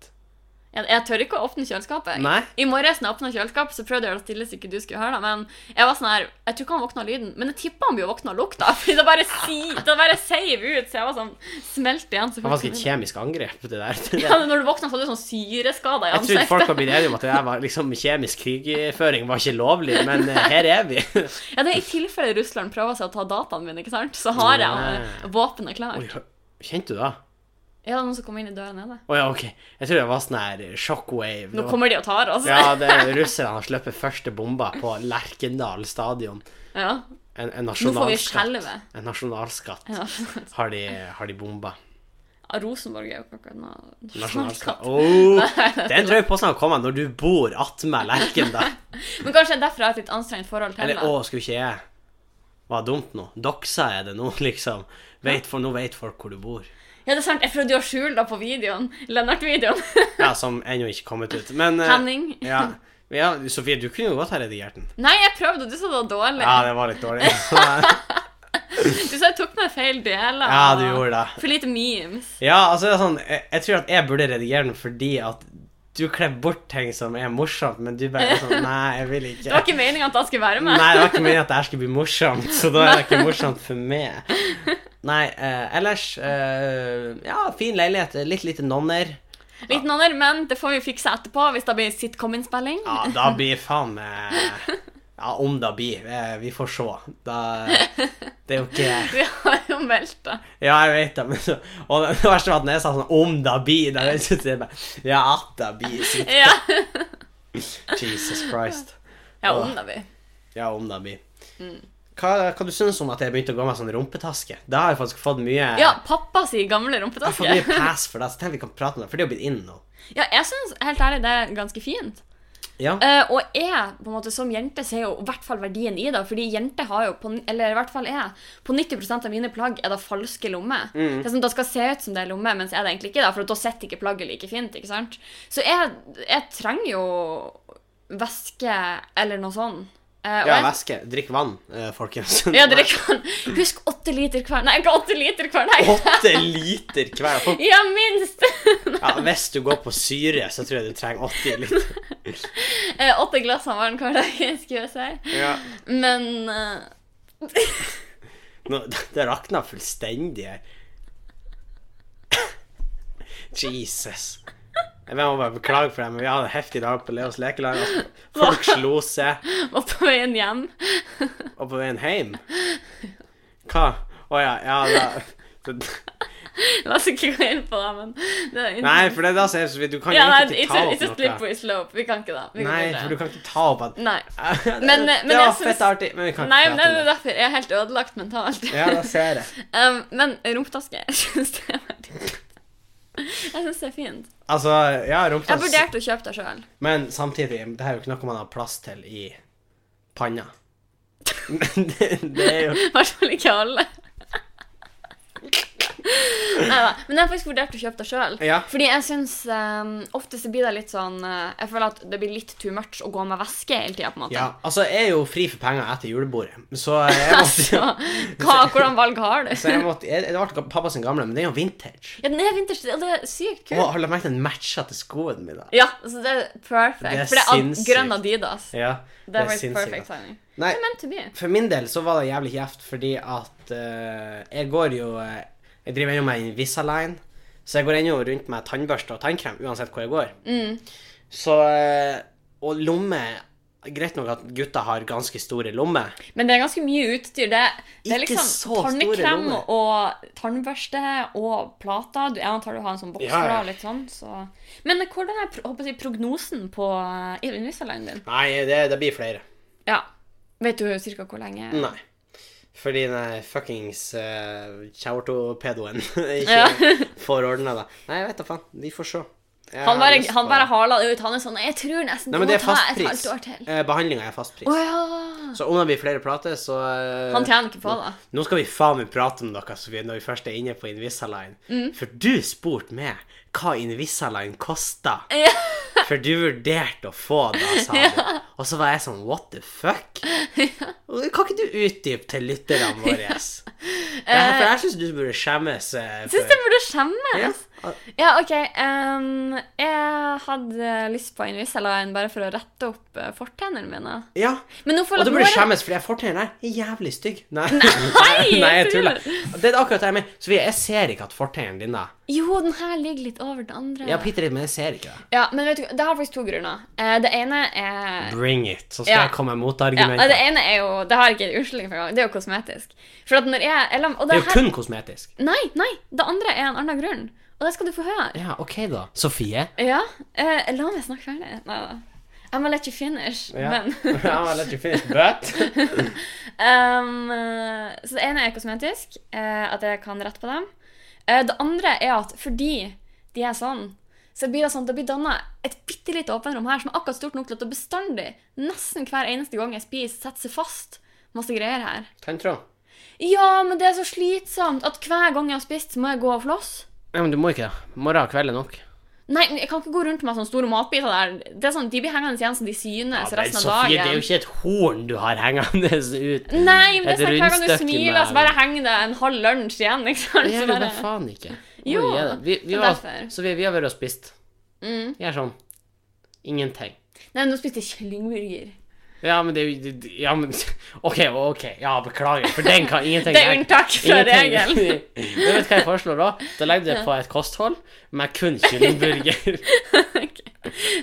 Speaker 2: Jeg, jeg tør ikke å åpne kjøleskapet.
Speaker 1: Nei.
Speaker 2: I morges når jeg åpna kjøleskapet, så prøvde jeg å gjøre det stille så ikke du skulle høre det, men jeg var sånn her Jeg tror ikke han våkna av lyden, men jeg tippa han blir våkna av lukta, (laughs) fordi det bare, si, det bare seiv ut, så jeg var sånn Smelt igjen så
Speaker 1: Det var
Speaker 2: fort som
Speaker 1: ganske et
Speaker 2: mulig.
Speaker 1: kjemisk angrep, det
Speaker 2: (laughs)
Speaker 1: der. Det
Speaker 2: Ja,
Speaker 1: der.
Speaker 2: når du våkna, så hadde du sånn syreskader i
Speaker 1: Jeg trodde folk
Speaker 2: ansiktet.
Speaker 1: var blitt enige om at det der var liksom kjemisk krigføring var ikke lovlig, men eh, her er vi. (laughs)
Speaker 2: Ja, det er I tilfelle Russland prøver seg å ta dataene mine, ikke sant? så har jeg eh, våpenet
Speaker 1: Oi,
Speaker 2: klart.
Speaker 1: hø- Kjente du da?
Speaker 2: Er det noen som kommer inn i døra nede?
Speaker 1: Å ja, OK. Jeg tror det var sånn her shockwave.
Speaker 2: Nå
Speaker 1: Det var-
Speaker 2: kommer de og tar oss.
Speaker 1: Ja, det er russerne har sluppet første bomba på Lerkendal stadion.
Speaker 2: (laughs) Ja.
Speaker 1: En, en
Speaker 2: Nå får vi
Speaker 1: nasjonalskatt.
Speaker 2: skjelve.
Speaker 1: En nasjonalskatt
Speaker 2: Ja. (laughs)
Speaker 1: har de, har de bomba.
Speaker 2: Ja, Rosenborg er jo ikke akkurat noe
Speaker 1: Nasjonalskatt.
Speaker 2: nasjonalskatt.
Speaker 1: Oh,
Speaker 2: (laughs)
Speaker 1: den drøy påstanden sånn kommer når du bor attmed Lerkendal.
Speaker 2: Men kanskje det er derfor jeg har et litt anstrengt forhold til
Speaker 1: Eller
Speaker 2: det.
Speaker 1: å, skulle ikke jeg Var dumt nå? Doksa er det nå, (laughs) liksom. Vet for, nå vet folk hvor du bor.
Speaker 2: Ja, det er sant, Jeg prøvde jo å skjule det på videoen. Lennart-videoen. (laughs)
Speaker 1: Ja, som ennå ikke kommet ut. Men eh,
Speaker 2: Henning.
Speaker 1: ja. ja, Sofie, du kunne jo godt ha redigert den.
Speaker 2: Nei, jeg prøvde, og du sa det var dårlig.
Speaker 1: Ja, det var litt dårlig. (laughs)
Speaker 2: Du sa jeg tok med feil deler.
Speaker 1: Ja, du
Speaker 2: og
Speaker 1: gjorde det.
Speaker 2: For lite memes.
Speaker 1: Ja, altså det er sånn, jeg, jeg tror at jeg burde redigere den fordi at du klemmer bort ting som er morsomt, men du bare er sånn Nei, jeg vil
Speaker 2: (laughs) Det var
Speaker 1: ikke.
Speaker 2: ikke meninga at jeg skulle være med.
Speaker 1: Nei, det var ikke meningen at det her skulle bli morsomt, så da er det ikke morsomt for meg. Nei, eh, ellers eh, Ja, fin leilighet. Litt lite nonner.
Speaker 2: Litt nonner, men det får vi fikse etterpå hvis det blir sitcom-innspilling.
Speaker 1: Ja, da blir faen meg Ja, om det blir. eh, Vi får se. Da Det er jo ikke
Speaker 2: (laughs) Vi har jo meldt det.
Speaker 1: Ja, jeg vet det, men så, Og det verste var at når jeg sa sånn Om det blir det, så sier jeg bare Ja, at det blir. så
Speaker 2: Ja,
Speaker 1: Jesus Christ.
Speaker 2: ja om det blir.
Speaker 1: Ja, om det blir. Hva, hva du synes om at jeg begynte å gå med sånn rumpetaske? Da har jeg faktisk fått mye
Speaker 2: Ja, pappa sier gamle
Speaker 1: jeg har fått mye
Speaker 2: rumpetaske.
Speaker 1: pass for det, så tenk vi kan prate om det, for det er jo blitt inn nå.
Speaker 2: Ja, jeg synes, helt ærlig, det er ganske fint.
Speaker 1: Ja.
Speaker 2: Eh, og jeg, på en måte, som jente, ser jo i hvert fall verdien i det. Fordi jenter har jo, på, eller i hvert fall jeg, på 90 av mine plagg er det falske lommer.
Speaker 1: Mm.
Speaker 2: Det er sånn, Det skal se ut som det er lomme, mens er det egentlig ikke det. For da sitter ikke plagget like fint. ikke sant? Så jeg, jeg trenger jo væske eller noe sånt. Eh, og
Speaker 1: Ja,
Speaker 2: jeg-
Speaker 1: væske. Drikk vann, eh, folkens.
Speaker 2: Ja, dere kan Husk åtte liter hver. Nei, ikke åtte liter hver, nei.
Speaker 1: Åtte liter hver. Folk,
Speaker 2: Ja, minst! (laughs)
Speaker 1: ja, hvis du går på syre, så tror jeg du trenger 80 liter.
Speaker 2: Eh, Åtte eh, glass av vann hver dag, skulle jeg si.
Speaker 1: Ja.
Speaker 2: Men eh,
Speaker 1: Nå, det rakna fullstendig her. Jesus. Jeg må bare beklage for det, men vi hadde en heftig dag på Leos lekelag. altså. Folk slo seg,
Speaker 2: Var på veien hjem. (laughs)
Speaker 1: og på veien hjem Hva? Å ja, ja da.
Speaker 2: La oss ikke gå inn på det, men det er
Speaker 1: Nei, for det er da som er så vidt. Du kan
Speaker 2: ja, nei,
Speaker 1: egentlig
Speaker 2: it's,
Speaker 1: ikke ta
Speaker 2: a, it's
Speaker 1: opp
Speaker 2: a
Speaker 1: noe.
Speaker 2: slippery slope. Vi kan ikke det. Vi kan
Speaker 1: Nei,
Speaker 2: ikke
Speaker 1: for du
Speaker 2: det.
Speaker 1: kan ikke ta opp at
Speaker 2: Nei.
Speaker 1: Det-
Speaker 2: Men- men
Speaker 1: Det var
Speaker 2: jeg synes-
Speaker 1: fett artig, men vi kan
Speaker 2: Nei,
Speaker 1: ikke
Speaker 2: men
Speaker 1: prate
Speaker 2: det
Speaker 1: om
Speaker 2: er
Speaker 1: det.
Speaker 2: derfor. Jeg er helt ødelagt mentalt.
Speaker 1: Ja, da ser jeg.
Speaker 2: (laughs) um, men rumpetaske, (laughs) jeg syns det er veldig Jeg syns det er fint.
Speaker 1: Altså, ja,
Speaker 2: Jeg
Speaker 1: rumpa
Speaker 2: vurderte å kjøpe det sjøl.
Speaker 1: Men samtidig, det her er jo ikke noe man har plass til i panna. det, (laughs) det er jo
Speaker 2: (laughs) I hvert fall ikke
Speaker 1: (laughs)
Speaker 2: alle. Neida, Men jeg har faktisk vurdert å kjøpe det sjøl.
Speaker 1: Ja.
Speaker 2: Fordi jeg syns um, ofte så blir det litt sånn eh, Jeg føler at det blir litt too much å gå med væske hele tida, på en måte. (laughs)
Speaker 1: Ja, altså jeg er jo fri for penger etter julebordet, så jeg
Speaker 2: Altså,
Speaker 1: måtte,
Speaker 2: hva, hvordan valg har du?
Speaker 1: så jeg måtte jeg, Det ble pappa sin gamle, men det er jo vintage.
Speaker 2: Ja, den er vinters, og det er sykt
Speaker 1: Og
Speaker 2: kult.
Speaker 1: har du merket den matcha til skoene mine?
Speaker 2: Ja, så det er perfect.
Speaker 1: Det er
Speaker 2: for det er ad-
Speaker 1: sinnssykt.
Speaker 2: grønn Adidas.
Speaker 1: Ja,
Speaker 2: Det var
Speaker 1: sinnssykt, altså.
Speaker 2: perfect
Speaker 1: da.
Speaker 2: timing.
Speaker 1: Nei,
Speaker 2: Det er meant to be.
Speaker 1: for min del så var det jævlig kjeft, fordi at eh, jeg går jo eh, Jeg driver ennå med Invisalign, så jeg går ennå rundt med tannbørste og tannkrem uansett hvor jeg går.
Speaker 2: Mm.
Speaker 1: Så eh, Og lomme Greit nok at gutta har ganske store lommer.
Speaker 2: Men det er ganske mye utstyr. Det, det er
Speaker 1: Ikke
Speaker 2: liksom
Speaker 1: så store
Speaker 2: tannkrem
Speaker 1: lommer.
Speaker 2: og tannbørste og plater. Du, jeg antar du har en sånn boks
Speaker 1: Ja, ja.
Speaker 2: fra og litt sånn, så Men hvordan er pro- håper jeg, prognosen på eh, Invisalign din?
Speaker 1: Nei, det, det blir flere.
Speaker 2: Ja. Vet du cirka hvor lenge?
Speaker 1: Nei. Fordi den der fuckings uh, kjauertopedoen (laughs) ikke
Speaker 2: Ja.
Speaker 1: får ordna det. Nei, jeg vet da faen. Vi får se. Jeg
Speaker 2: Han
Speaker 1: har
Speaker 2: bare,
Speaker 1: lyst
Speaker 2: han
Speaker 1: på-
Speaker 2: bare haler det ut. Han er sånn Jeg tror nesten
Speaker 1: Nei,
Speaker 2: det
Speaker 1: men det
Speaker 2: må
Speaker 1: er
Speaker 2: ta
Speaker 1: fast
Speaker 2: et
Speaker 1: pris.
Speaker 2: halvt år til.
Speaker 1: Eh, Behandlinga er fast pris.
Speaker 2: Å ja.
Speaker 1: Så om det blir flere plater, så eh,
Speaker 2: Han tjener ikke på det.
Speaker 1: Nå skal vi faen meg prate om noe Sofie, når vi først er inne på Invisalign.
Speaker 2: Mm.
Speaker 1: For du spurte meg hva Invisalign kosta.
Speaker 2: (laughs) Ja.
Speaker 1: For du vurderte å få det, sa
Speaker 2: (laughs)
Speaker 1: du. Og så var jeg sånn what the fuck? Kan ikke du utdype til lytterne
Speaker 2: (laughs)
Speaker 1: våre? Det her- For jeg syns du burde skjemmes. eh,
Speaker 2: Jeg syns
Speaker 1: for-
Speaker 2: jeg Eh, burde skjemmes.
Speaker 1: Ja.
Speaker 2: Ja, OK. ehm, jeg hadde lyst på Invisalign bare for å rette opp eh, fortennene mine.
Speaker 1: ja.
Speaker 2: Men nå
Speaker 1: Og du
Speaker 2: føler jeg at nå
Speaker 1: burde
Speaker 2: er det-
Speaker 1: skjemmes, for jeg fortennene der er jævlig stygge. (laughs) Nei, nei, jeg
Speaker 2: jeg
Speaker 1: tuller.
Speaker 2: tuller.
Speaker 1: Det er akkurat det jeg mener. Sofie, jeg ser ikke at fortennene dine
Speaker 2: Jo, den her ligger litt over den andre.
Speaker 1: Ja, bitte litt, men jeg ser ikke det.
Speaker 2: Ja, men vet du, hva, det har faktisk to grunner. Eh, det ene er
Speaker 1: Bring it, så skal
Speaker 2: Ja.
Speaker 1: jeg komme med
Speaker 2: ja,
Speaker 1: motargumenter.
Speaker 2: Det ene er jo Det har jeg ikke unnskyldning for engang. Det er jo kosmetisk. For at når jeg eller, og
Speaker 1: det
Speaker 2: det
Speaker 1: er jo
Speaker 2: her,
Speaker 1: kun kosmetisk.
Speaker 2: Nei, nei. Det andre er en annen grunn. Og det skal du få høre.
Speaker 1: Ja, OK, da. Sofie. (laughs)
Speaker 2: Ja. eh, la meg snakke ferdig. Nei da. I'm gonna let you finish. Men
Speaker 1: (laughs) let you finish, but (laughs)
Speaker 2: Um, så det ene er kosmetisk, eh, at jeg kan rette på dem. Eh, det andre er at fordi de er sånn, så blir det sånn, det blir danna et bitte lite åpenrom her som er akkurat stort nok til at det bestandig, nesten hver eneste gang jeg spiser, setter seg fast masse greier her.
Speaker 1: Tanntråd.
Speaker 2: Ja, men det er så slitsomt at hver gang jeg har spist, så må jeg gå og floss.
Speaker 1: Nei, men du må ikke det. Morgen og kveld er nok.
Speaker 2: Nei, men jeg kan ikke gå rundt med sånne store matbiter der. Det er sånn, De blir hengende igjen så de synes resten av dagen.
Speaker 1: det er jo ikke et horn du har hengende (laughs) ut.
Speaker 2: Nei, men
Speaker 1: Et
Speaker 2: det er sånn, hver gang du
Speaker 1: rundstykke
Speaker 2: smiler,
Speaker 1: med-
Speaker 2: så bare henger det en halv lunsj igjen. ikke sant?
Speaker 1: Det
Speaker 2: Så
Speaker 1: gjør du da
Speaker 2: bare...
Speaker 1: faen ikke. Må
Speaker 2: Jo,
Speaker 1: du gjøre det. vi,
Speaker 2: det
Speaker 1: vi
Speaker 2: er
Speaker 1: var,
Speaker 2: derfor.
Speaker 1: så vi, vi har vært og spist.
Speaker 2: Mm.
Speaker 1: Gjør sånn. Ingenting.
Speaker 2: Nei, nå spiste jeg kyllingburger.
Speaker 1: Ja, men det er jo det- det- Ja, men (laughs) OK, OK. Ja, beklager. For den
Speaker 2: (laughs)
Speaker 1: kan ingenting
Speaker 2: Det er unntak fra
Speaker 1: (laughs)
Speaker 2: regelen. (laughs)
Speaker 1: Ingenting. Du vet hva jeg foreslår da? Da legger du det på et kosthold med kun kyllingburger.
Speaker 2: (laughs)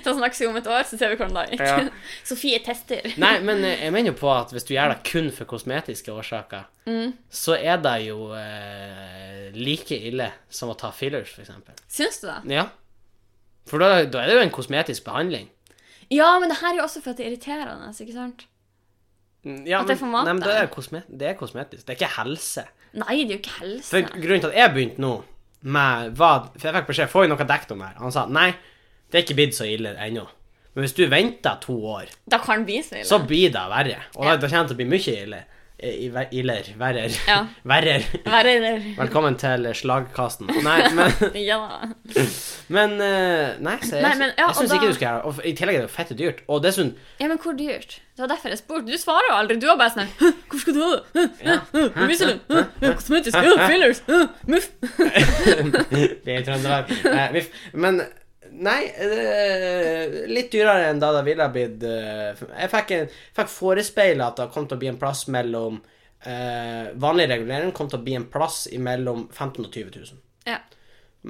Speaker 2: Så snakkes vi om et år, så ser vi hvordan det gikk.
Speaker 1: Ja.
Speaker 2: (laughs) Sofie tester.
Speaker 1: Nei, men eh, jeg mener jo på at hvis du gjør det kun for kosmetiske årsaker,
Speaker 2: Mm.
Speaker 1: så er det jo eh, like ille som å ta fillers, for eksempel.
Speaker 2: Syns du det?
Speaker 1: Ja. For da, da er det jo en kosmetisk behandling.
Speaker 2: Ja, men det her er jo også for at det er irriterende. ikke sant?
Speaker 1: Mm, Ja,
Speaker 2: At det er for mat,
Speaker 1: Nei, men
Speaker 2: da.
Speaker 1: det er, kosme, det er kosmetisk. Det er ikke helse.
Speaker 2: Nei, det er jo ikke helse.
Speaker 1: For grunnen til at jeg begynte nå med hva For jeg fikk beskjed Får vi noe dekt om det her? Han sa nei, det er ikke blitt så ille ennå. Men hvis du venter to år,
Speaker 2: Da kan det bli så ille.
Speaker 1: så blir det verre. Og da,
Speaker 2: Ja.
Speaker 1: da kommer det til å bli mye ille. Eh, i- ver- Iller. Verrer. (laughs)
Speaker 2: Ja.
Speaker 1: Verrer.
Speaker 2: Verre eller
Speaker 1: Velkommen til slagkasten. Nei,
Speaker 2: (laughs)
Speaker 1: men,
Speaker 2: Ja da.
Speaker 1: men eh, Nei, så jeg,
Speaker 2: Nei, men, ja,
Speaker 1: jeg syns
Speaker 2: og da-
Speaker 1: ikke du skal gjøre det. Og I tillegg er det jo fette dyrt. Og
Speaker 2: (laughs)
Speaker 1: dessuten
Speaker 2: Ja, men hvor dyrt? Det var derfor jeg spurte. Du svarer jo aldri. Du var bare sånn «Hæ, Hvor skal du ha det? Hæ, hæ, hæ, Michelin? Hæ, hæ, Kosmetisk? Hæ, Fillers? Hæ, Muff?
Speaker 1: (laughs) Vi er i Trøndelag. Eh, vi f- Men Nei, eh, litt dyrere enn da det ville ha blitt eh, Jeg fikk, en- fikk forespeila at det kom til å bli en plass mellom eh, eh, vanlig regulering kom til å bli en plass mellom 15 000 og 20 000.
Speaker 2: Ja.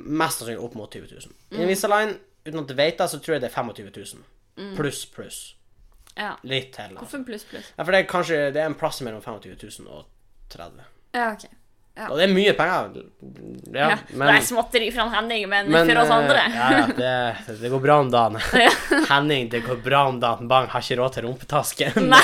Speaker 1: Mest sannsynlig opp mot 20 000.
Speaker 2: Mm.
Speaker 1: I Invisalign, uten at jeg vet det, så tror jeg det er 25 000. Pluss, pluss.
Speaker 2: ja.
Speaker 1: Litt til. da.
Speaker 2: Mm. Hvorfor pluss, pluss?
Speaker 1: Ja, for det er kanskje det er en plass mellom 25 000 og 30 000.
Speaker 2: Ja, OK. Ja.
Speaker 1: Og det er mye penger. Ja,
Speaker 2: Ja,
Speaker 1: men,
Speaker 2: det er småtteri fra han Henning, men,
Speaker 1: men,
Speaker 2: for oss
Speaker 1: eh,
Speaker 2: andre
Speaker 1: ja, ja, det, det går bra om
Speaker 2: (laughs)
Speaker 1: dagen. Henning, det går bra om dagen. Bang, har ikke råd til rumpetaske.
Speaker 2: Nei,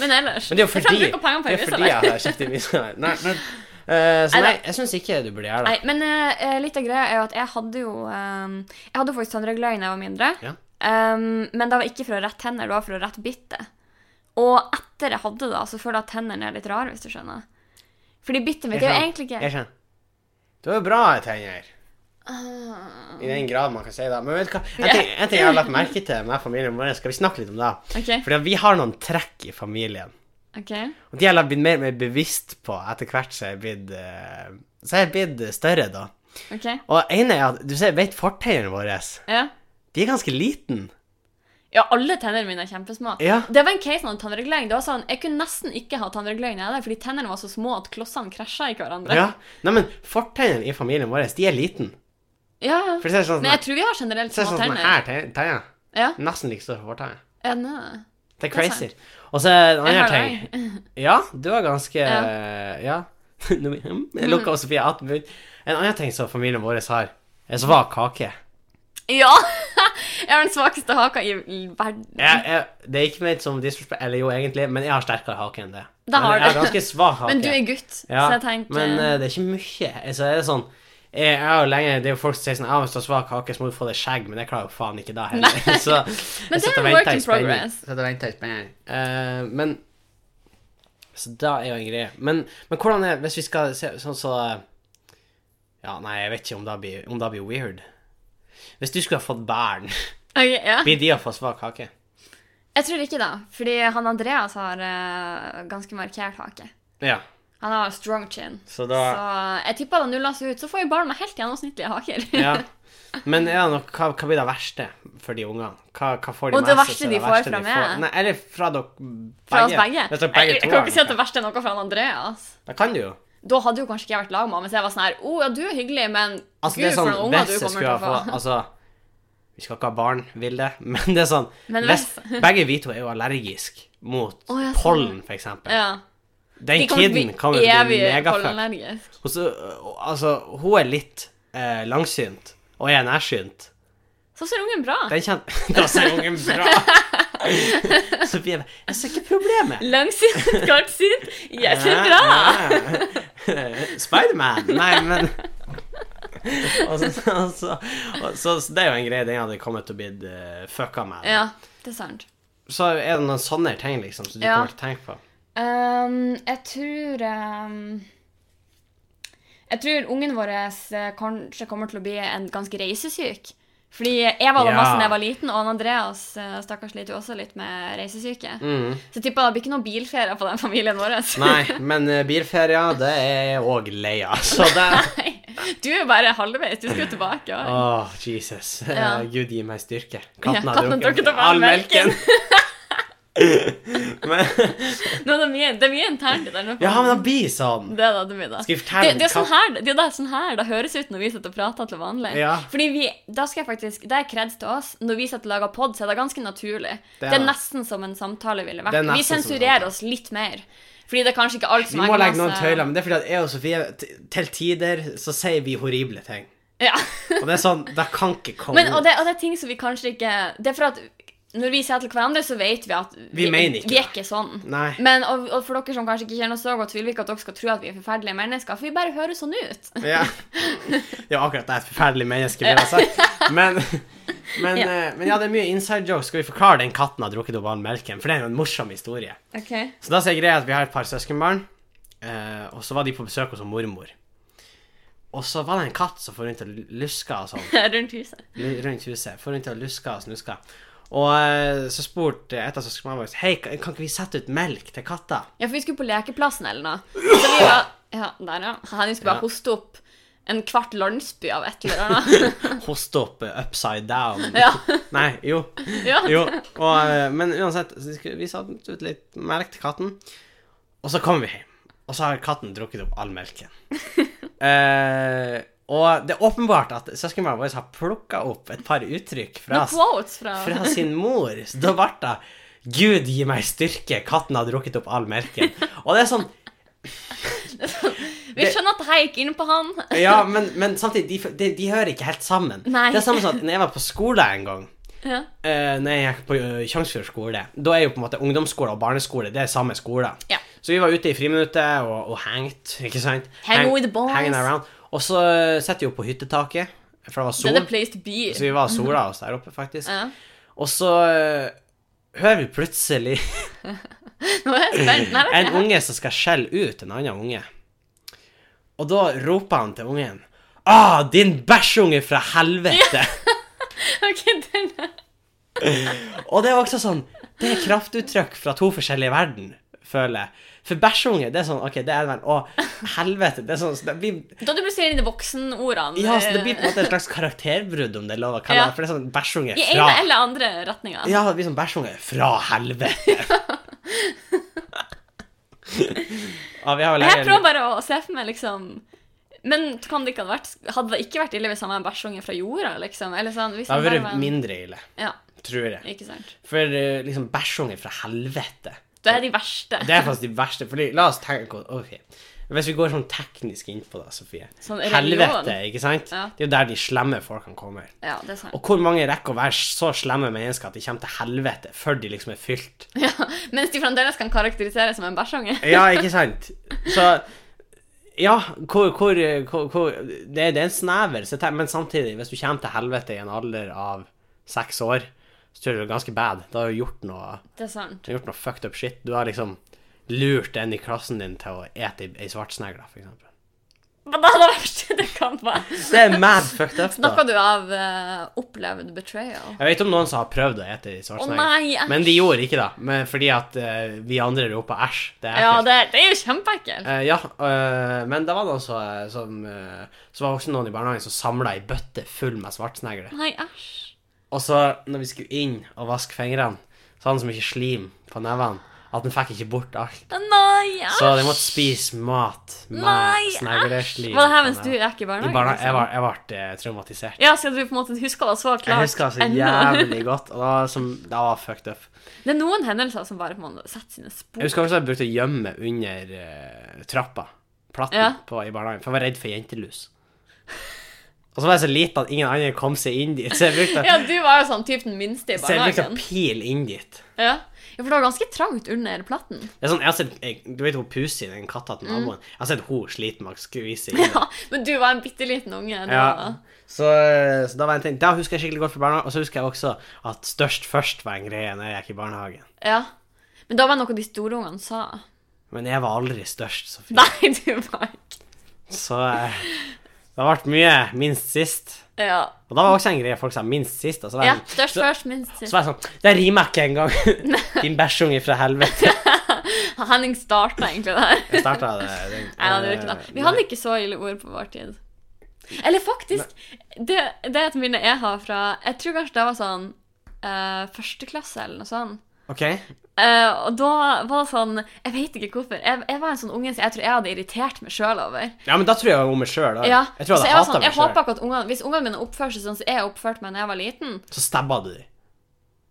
Speaker 2: men ellers.
Speaker 1: Men det er jo
Speaker 2: Jeg tror
Speaker 1: fordi,
Speaker 2: jeg bruker pengene
Speaker 1: det
Speaker 2: på
Speaker 1: er fordi
Speaker 2: Invisalign.
Speaker 1: jeg har kjøpt Invisalign. Nei, men, eh, så nei,
Speaker 2: Nei, da.
Speaker 1: jeg syns ikke du burde gjøre det.
Speaker 2: Nei, men eh, eh, litt av greia er jo at jeg hadde jo ehm, Jeg hadde jo faktisk tannregulering da jeg var mindre.
Speaker 1: Ja.
Speaker 2: Ehm, men det var ikke fra rett tenner, det var fra rett bitte. Og etter jeg hadde det, så føler jeg at tennene er litt rare, hvis du skjønner. Fordi bittet mitt er jo
Speaker 1: skjønner.
Speaker 2: egentlig ikke
Speaker 1: Jeg skjønner. Du har jo bra tenner.
Speaker 2: Ah.
Speaker 1: I den grad man kan si det. Men vet du hva? En ting, en ting jeg har lagt merke til med familien vår, skal vi snakke litt om det?
Speaker 2: Ok.
Speaker 1: Fordi at vi har noen trekk i familien.
Speaker 2: OK.
Speaker 1: Og de har jeg blitt mer og mer bevisst på etter hvert som jeg er blitt eh, Så jeg er blitt større, da.
Speaker 2: ok,
Speaker 1: Og ene er at du ser, vet fortennene våre,
Speaker 2: Ja.
Speaker 1: de er ganske liten.
Speaker 2: ja, alle tennene mine er kjempesmå.
Speaker 1: Ja.
Speaker 2: Det var en case med tannregulering. Det var sånn, Jeg kunne nesten ikke ha tannregulering nede, fordi tennene var så små at klossene krasja i hverandre.
Speaker 1: Ja. Nei, men fortennene i familien vår, de er liten.
Speaker 2: ja. ja.
Speaker 1: For det ser sånn
Speaker 2: Men jeg tror vi har generelt
Speaker 1: ser
Speaker 2: små
Speaker 1: sånn som
Speaker 2: tenner.
Speaker 1: denne her ten- tenna.
Speaker 2: Ja.
Speaker 1: Nesten like stor som fortenna.
Speaker 2: Ja, nei.
Speaker 1: Det er
Speaker 2: Det er
Speaker 1: crazy. Og så en
Speaker 2: Jeg
Speaker 1: annen
Speaker 2: har
Speaker 1: ting.
Speaker 2: det.
Speaker 1: Ja, du var ganske eh,
Speaker 2: Ja.
Speaker 1: Ja. (laughs) Nå- Jeg lukka Sofie 18 minutter. En annen ting som familien vår har, er svak kake.
Speaker 2: (laughs) Ja! Jeg har den svakeste haka i verden.
Speaker 1: Jeg, jeg, det er ikke ment som disrespect, eller jo egentlig, men jeg har sterkere hake enn det.
Speaker 2: Det har
Speaker 1: Eller, jeg
Speaker 2: du.
Speaker 1: har ganske svak hake.
Speaker 2: (laughs) Men du er gutt,
Speaker 1: Ja,
Speaker 2: så jeg tenker
Speaker 1: Men eh, det er ikke mye. Altså, er det sånn jeg jeg har jo lenge, det er jo Folk som sier sånn «Ja, 'Hvis du har svak hake, så må du få deg skjegg', men jeg klarer jo faen ikke
Speaker 2: (laughs)
Speaker 1: det heller. Så, jeg
Speaker 2: Men det er
Speaker 1: sitter og
Speaker 2: en
Speaker 1: venter
Speaker 2: work
Speaker 1: i
Speaker 2: in
Speaker 1: spenning.
Speaker 2: progress.
Speaker 1: Sitter og venter i spenning. Eh, men Så da er jo en greie. Men, men hvordan er Hvis vi skal se sånn så Ja, nei, jeg vet ikke om det blir, om det blir weird. Hvis du skulle ha fått barn,
Speaker 2: Ok, ja.
Speaker 1: blir de å få svak hake?
Speaker 2: Jeg tror ikke det, fordi han Andreas har eh, ganske markert hake.
Speaker 1: Ja.
Speaker 2: Han har strong chin.
Speaker 1: Så da-
Speaker 2: Så jeg tipper det nuller seg ut. Så får vi barn med helt gjennomsnittlige haker.
Speaker 1: ja. Men er det noe, hva, hva blir det verste for de ungene? Hva, hva får de
Speaker 2: Og
Speaker 1: med
Speaker 2: det
Speaker 1: seg,
Speaker 2: verste
Speaker 1: så er
Speaker 2: de får
Speaker 1: verste
Speaker 2: fra
Speaker 1: de
Speaker 2: meg?
Speaker 1: Nei, eller fra dere begge.
Speaker 2: (laughs) Fra oss begge.
Speaker 1: Hvis dere begge
Speaker 2: jeg, jeg
Speaker 1: to
Speaker 2: kan
Speaker 1: har
Speaker 2: ikke si at
Speaker 1: noe.
Speaker 2: det verste er noe fra han Andreas.
Speaker 1: Da kan du jo.
Speaker 2: Da hadde jo kanskje ikke jeg vært lag med ham, hvis jeg var sånn her Å oh, ja, du er hyggelig, men
Speaker 1: Altså, det er
Speaker 2: gud, for
Speaker 1: sånn,
Speaker 2: noen unger
Speaker 1: hvis
Speaker 2: du
Speaker 1: jeg
Speaker 2: kommer
Speaker 1: skulle
Speaker 2: til
Speaker 1: ha
Speaker 2: å
Speaker 1: fått
Speaker 2: få.
Speaker 1: Altså, vi skal ikke ha barn, vil det, (laughs) men det er sånn
Speaker 2: Men
Speaker 1: hvis,
Speaker 2: hvis-
Speaker 1: (laughs) Begge vi to er jo allergiske mot
Speaker 2: Å, ja, sånn.
Speaker 1: pollen, for eksempel.
Speaker 2: Ja.
Speaker 1: Den
Speaker 2: De kommer
Speaker 1: kiden
Speaker 2: til å
Speaker 1: kommer
Speaker 2: bli
Speaker 1: til å bli
Speaker 2: evig
Speaker 1: megafucked.
Speaker 2: pollenallergisk.
Speaker 1: Og så, øh, Altså, hun er litt eh, langsynt, og jeg er nærsynt.
Speaker 2: Så ser ungen bra.
Speaker 1: Den kjenner (laughs) Da ser ungen
Speaker 2: (laughs)
Speaker 1: bra! Sofie, jeg ser ikke problemet.
Speaker 2: Langsynt, (laughs) kortsynt. Jeg ser
Speaker 1: Ja,
Speaker 2: bra!
Speaker 1: ja. (laughs) Spiderman! Nei, men (laughs) og så, og så, og så, så det er jo en greie den hadde kommet til å bli eh, fucka med.
Speaker 2: Ja, det er sant.
Speaker 1: Så er det noen sånne ting liksom som du
Speaker 2: Ja.
Speaker 1: kommer til å tenke på.
Speaker 2: Ehm, jeg tror ehm, Jeg tror ungen vår eh, kanskje kommer til å bli en ganske reisesyk. Fordi jeg var
Speaker 1: Ja.
Speaker 2: ja. masse da jeg var liten, og han Andreas eh, stakkars sliter jo også litt med reisesyke. Så jeg tipper det blir ikke noen bilferie på den familien vår.
Speaker 1: Mm.
Speaker 2: (laughs)
Speaker 1: Nei, men eh, bilferier, det er òg leia. Så det
Speaker 2: (laughs) Nei, Du er jo bare halvveis. Du skal jo tilbake.
Speaker 1: Åh,
Speaker 2: Ja.
Speaker 1: Jesus.
Speaker 2: Ja.
Speaker 1: Eh, Gud gi meg styrke.
Speaker 2: Ja, katten har drukket opp all
Speaker 1: men,
Speaker 2: Nå, det, er mye, det er mye internt i den.
Speaker 1: ja, men det blir sånn.
Speaker 2: Det er da, det blir da.
Speaker 1: Skal vi fortelle
Speaker 2: det, det er
Speaker 1: hva-
Speaker 2: sånn her det, er da sånn her det høres ut når vi sitter og prater til vanlig.
Speaker 1: Ja.
Speaker 2: Fordi vi, da skal jeg faktisk, Det er kreds til oss. Når vi sitter og lager pod, så er det ganske naturlig.
Speaker 1: Det
Speaker 2: Det
Speaker 1: er
Speaker 2: er,
Speaker 1: det.
Speaker 2: nesten som en samtale ville
Speaker 1: Det er
Speaker 2: vært.
Speaker 1: nesten
Speaker 2: Vi
Speaker 1: som en
Speaker 2: sensurerer
Speaker 1: samtale.
Speaker 2: oss litt mer. Fordi det er kanskje ikke alt
Speaker 1: Vi
Speaker 2: som
Speaker 1: må
Speaker 2: egner
Speaker 1: legge noen
Speaker 2: seg-
Speaker 1: tøyler, men det er fordi at jeg og Sofie t- til tider så sier vi horrible ting.
Speaker 2: Ja. (laughs)
Speaker 1: Og det er sånn, det kan ikke komme
Speaker 2: Men, og, det, og det er ting som vi kanskje ikke Det er for at når vi sier til hverandre, så vet vi at vi,
Speaker 1: mener ikke
Speaker 2: vi er
Speaker 1: det.
Speaker 2: ikke sånn.
Speaker 1: Nei.
Speaker 2: Men, og, og for dere som kanskje ikke kjenner oss så godt, vil vi ikke at dere skal tro at vi er forferdelige mennesker, for vi bare høres sånn ut.
Speaker 1: Ja. Det er jo akkurat det et forferdelig menneske ville ha sagt. Men, men,
Speaker 2: Ja.
Speaker 1: eh, men ja, det er mye inside jokes. Skal vi forklare den katten har drukket opp all melken? For det er jo en morsom historie.
Speaker 2: Okay.
Speaker 1: Så da sier greia at vi har et par søskenbarn, eh, og så var de på besøk hos mormor. Og så var det en katt som får rundt og luska og sånn.
Speaker 2: (laughs) Rundt huset.
Speaker 1: Lu- rundt huset. Får hun til å luske og snuske. Og eh, så spurte et av søskenbarna våre Hei, kan kan ikke vi sette ut melk til katta.
Speaker 2: Ja, for vi skulle på lekeplassen eller noe. Så vi var, ja, der ja. Henning skulle bare
Speaker 1: Ja.
Speaker 2: hoste opp en kvart landsby av et eller annet. (laughs)
Speaker 1: Hoste opp eh, upside down.
Speaker 2: Ja.
Speaker 1: Nei, jo.
Speaker 2: Ja.
Speaker 1: jo. Og, eh, men uansett, så vi skulle- vi satte ut litt melk til katten. Og så kom vi hjem. og så har katten drukket opp all melken. Eh, og det er åpenbart at søskenbarnet vårt har plukka opp et par uttrykk fra,
Speaker 2: Noen quotes fra,
Speaker 1: fra sin mor. Så da ble det 'Gud gi meg styrke, katten har drukket opp all melken'. Og det er sånn
Speaker 2: Vi skjønner at dette gikk inn på han.
Speaker 1: Ja, men, men samtidig, de, de, de hører ikke helt sammen.
Speaker 2: Nei.
Speaker 1: Det er samme som at når jeg var på skole en gang
Speaker 2: Ja.
Speaker 1: eh, Når jeg gikk på uh, Tjongsfjord skole, da er jo på en måte ungdomsskole og barneskole det er samme skole.
Speaker 2: Ja.
Speaker 1: Så vi var ute i friminuttet og, og hengt, ikke sant?
Speaker 2: Hang with the boys.
Speaker 1: Hanging around. Og så sitter vi jo på hyttetaket, for det var
Speaker 2: Det er the
Speaker 1: sol.
Speaker 2: place to be.
Speaker 1: Så vi var og sola oss der oppe, faktisk.
Speaker 2: Ja.
Speaker 1: Og så eh, hører vi plutselig
Speaker 2: Nå er jeg spent. Nei, det er
Speaker 1: en unge som skal skjelle ut en annen unge. Og da roper han til ungen Ah, din bæsjunge fra helvete!
Speaker 2: ikke- (laughs) Ok, den er-
Speaker 1: (laughs) Og det er også sånn Det er kraftuttrykk fra to forskjellige verden, føler jeg. For bæsjunge, det er sånn OK, det er vel Å, helvete. Det er sånn så det blir,
Speaker 2: Da du bruker inn de voksenordene
Speaker 1: Ja, så det blir
Speaker 2: eh,
Speaker 1: på en måte et slags karakterbrudd, om det er lov å kalle
Speaker 2: Ja.
Speaker 1: det. For det er sånn bæsjunge
Speaker 2: eh, i
Speaker 1: fra
Speaker 2: ene eller andre retninger.
Speaker 1: Ja, det blir sånn bæsjunge fra
Speaker 2: (laughs)
Speaker 1: helvete. ja, vi har vel
Speaker 2: Jeg
Speaker 1: lenger
Speaker 2: prøver bare å se for meg liksom Men kan det ikke hadde vært Hadde det ikke vært ille hvis han var en bæsjunge fra jorda, liksom? Eller sånn, hvis
Speaker 1: Det har
Speaker 2: han bare
Speaker 1: vært
Speaker 2: var en-
Speaker 1: mindre ille,
Speaker 2: Ja,
Speaker 1: tror jeg.
Speaker 2: ikke sant.
Speaker 1: For eh, liksom bæsjunge fra helvete.
Speaker 2: Det er de verste.
Speaker 1: Det er faktisk de verste, fordi la oss tenke Ok, hvis vi går sånn teknisk inn på det, Sofie
Speaker 2: Sånn religion.
Speaker 1: Helvete, ikke sant?
Speaker 2: Ja.
Speaker 1: Det er jo der de slemme folkene kommer
Speaker 2: Ja, det er sant.
Speaker 1: Og hvor mange rekker å være så slemme mennesker At de kommer til helvete før de liksom er fylt
Speaker 2: Ja, mens de fremdeles kan karakteriseres som en
Speaker 1: (laughs)
Speaker 2: bæsjunge.
Speaker 1: Ja, ikke sant? Så, ja, hvor, hvor, hvor, hvor det, er- det er en snever så te- Men samtidig, hvis du kommer til helvete i en alder av Seks år Så tror jeg det er ganske bad Da har du gjort noe
Speaker 2: Det er sant.
Speaker 1: Du har gjort noe fucked up shit. Du har liksom lurt en i klassen din til å ete ei svartsnegle, for eksempel.
Speaker 2: Men det er det verste det kan være.
Speaker 1: Det er mad fucked up, da.
Speaker 2: Snakker du av eh, opplevd betrayal?
Speaker 1: Jeg vet om noen som har prøvd å ete ei
Speaker 2: Å
Speaker 1: svartsnegle.
Speaker 2: nei! æsj.
Speaker 1: men de gjorde ikke det, men fordi at eh, vi andre ropa æsj. Det er
Speaker 2: Ja,
Speaker 1: ekkelt.
Speaker 2: det, det er jo kjempeekkelt.
Speaker 1: Eh, ja, eh, men det var noen som, eh, som eh, Så var det også noen i barnehagen som samla ei bøtte full med svartsnegler.
Speaker 2: Nei, æsj.
Speaker 1: Og så, når vi skulle inn og vaske fingrene, så hadde han så mye slim på nevene at han fikk ikke bort alt.
Speaker 2: Nei, æsj.
Speaker 1: Så de måtte spise mat
Speaker 2: Nei,
Speaker 1: med
Speaker 2: æsj.
Speaker 1: snegleslim.
Speaker 2: Var det her
Speaker 1: på
Speaker 2: mens du
Speaker 1: nevene.
Speaker 2: gikk i
Speaker 1: I
Speaker 2: barnehagen?
Speaker 1: barna, jeg,
Speaker 2: liksom?
Speaker 1: var, jeg ble eh, traumatisert.
Speaker 2: Ja, skal du på en måte huske det så klart
Speaker 1: Jeg husker det så
Speaker 2: ennå?
Speaker 1: jævlig godt. Og det var, som, det var fucked up.
Speaker 2: (laughs) Det er noen hendelser som bare på en måte setter sine spor.
Speaker 1: Jeg husker også jeg brukte å gjemme under eh, trappa. Platten
Speaker 2: Ja.
Speaker 1: på, i barnehagen. For jeg var redd for jentelus. Og så var jeg så liten at ingen andre kom seg inn dit. Så jeg brukte,
Speaker 2: (laughs) Ja, du var jo sånn typ den minste i
Speaker 1: så jeg liksom brukte
Speaker 2: barnehagen.
Speaker 1: å pile inn dit.
Speaker 2: Ja. ja, for det var ganske trangt under platten.
Speaker 1: Det er sånn, jeg har sett, jeg, du vet hun Pusi, den katta til
Speaker 2: Mm.
Speaker 1: naboen? Jeg har sett hun slite med å skvise inn.
Speaker 2: (laughs) Ja, men du var en bitte liten unge. da.
Speaker 1: Ja. Så, så da var en ting. Da husker jeg skikkelig godt fra barnehagen. Og så husker jeg også at størst først var en greie når jeg gikk i barnehagen.
Speaker 2: ja. Men da var det noe de store ungene sa.
Speaker 1: Men jeg var aldri størst, Sofie.
Speaker 2: (laughs) Nei, du var ikke
Speaker 1: Så eh, det har vært mye minst sist.
Speaker 2: Ja.
Speaker 1: Og da var også en greie folk sa minst sist. Og så var
Speaker 2: ja
Speaker 1: jeg, sånn-
Speaker 2: størst først, minst
Speaker 1: så
Speaker 2: sist.
Speaker 1: var jeg sånn Det rimer ikke
Speaker 2: (laughs)
Speaker 1: engang! Din bæsjunge fra helvete.
Speaker 2: Henning starta egentlig det her.
Speaker 1: (laughs) Jeg starta det. den-
Speaker 2: Nei, han gjorde ikke det.
Speaker 1: Eh,
Speaker 2: Vi hadde ikke så ille ord på vår tid. Eller faktisk, det, det er et minne jeg har fra Jeg tror kanskje det var sånn eh, første klasse eller noe sånt.
Speaker 1: OK.
Speaker 2: Eh, og da var det sånn Jeg vet ikke hvorfor. Jeg, jeg var en sånn unge som jeg tror jeg hadde irritert meg sjøl over.
Speaker 1: Ja, men da tror jeg om meg sjøl.
Speaker 2: Ja.
Speaker 1: Jeg tror jeg
Speaker 2: så
Speaker 1: hadde
Speaker 2: jeg var
Speaker 1: hata
Speaker 2: sånn,
Speaker 1: meg
Speaker 2: jeg
Speaker 1: sjøl.
Speaker 2: håper ikke at ungene, Hvis ungene mine oppfører seg sånn som jeg oppførte meg da jeg var liten
Speaker 1: Så stabba du dem.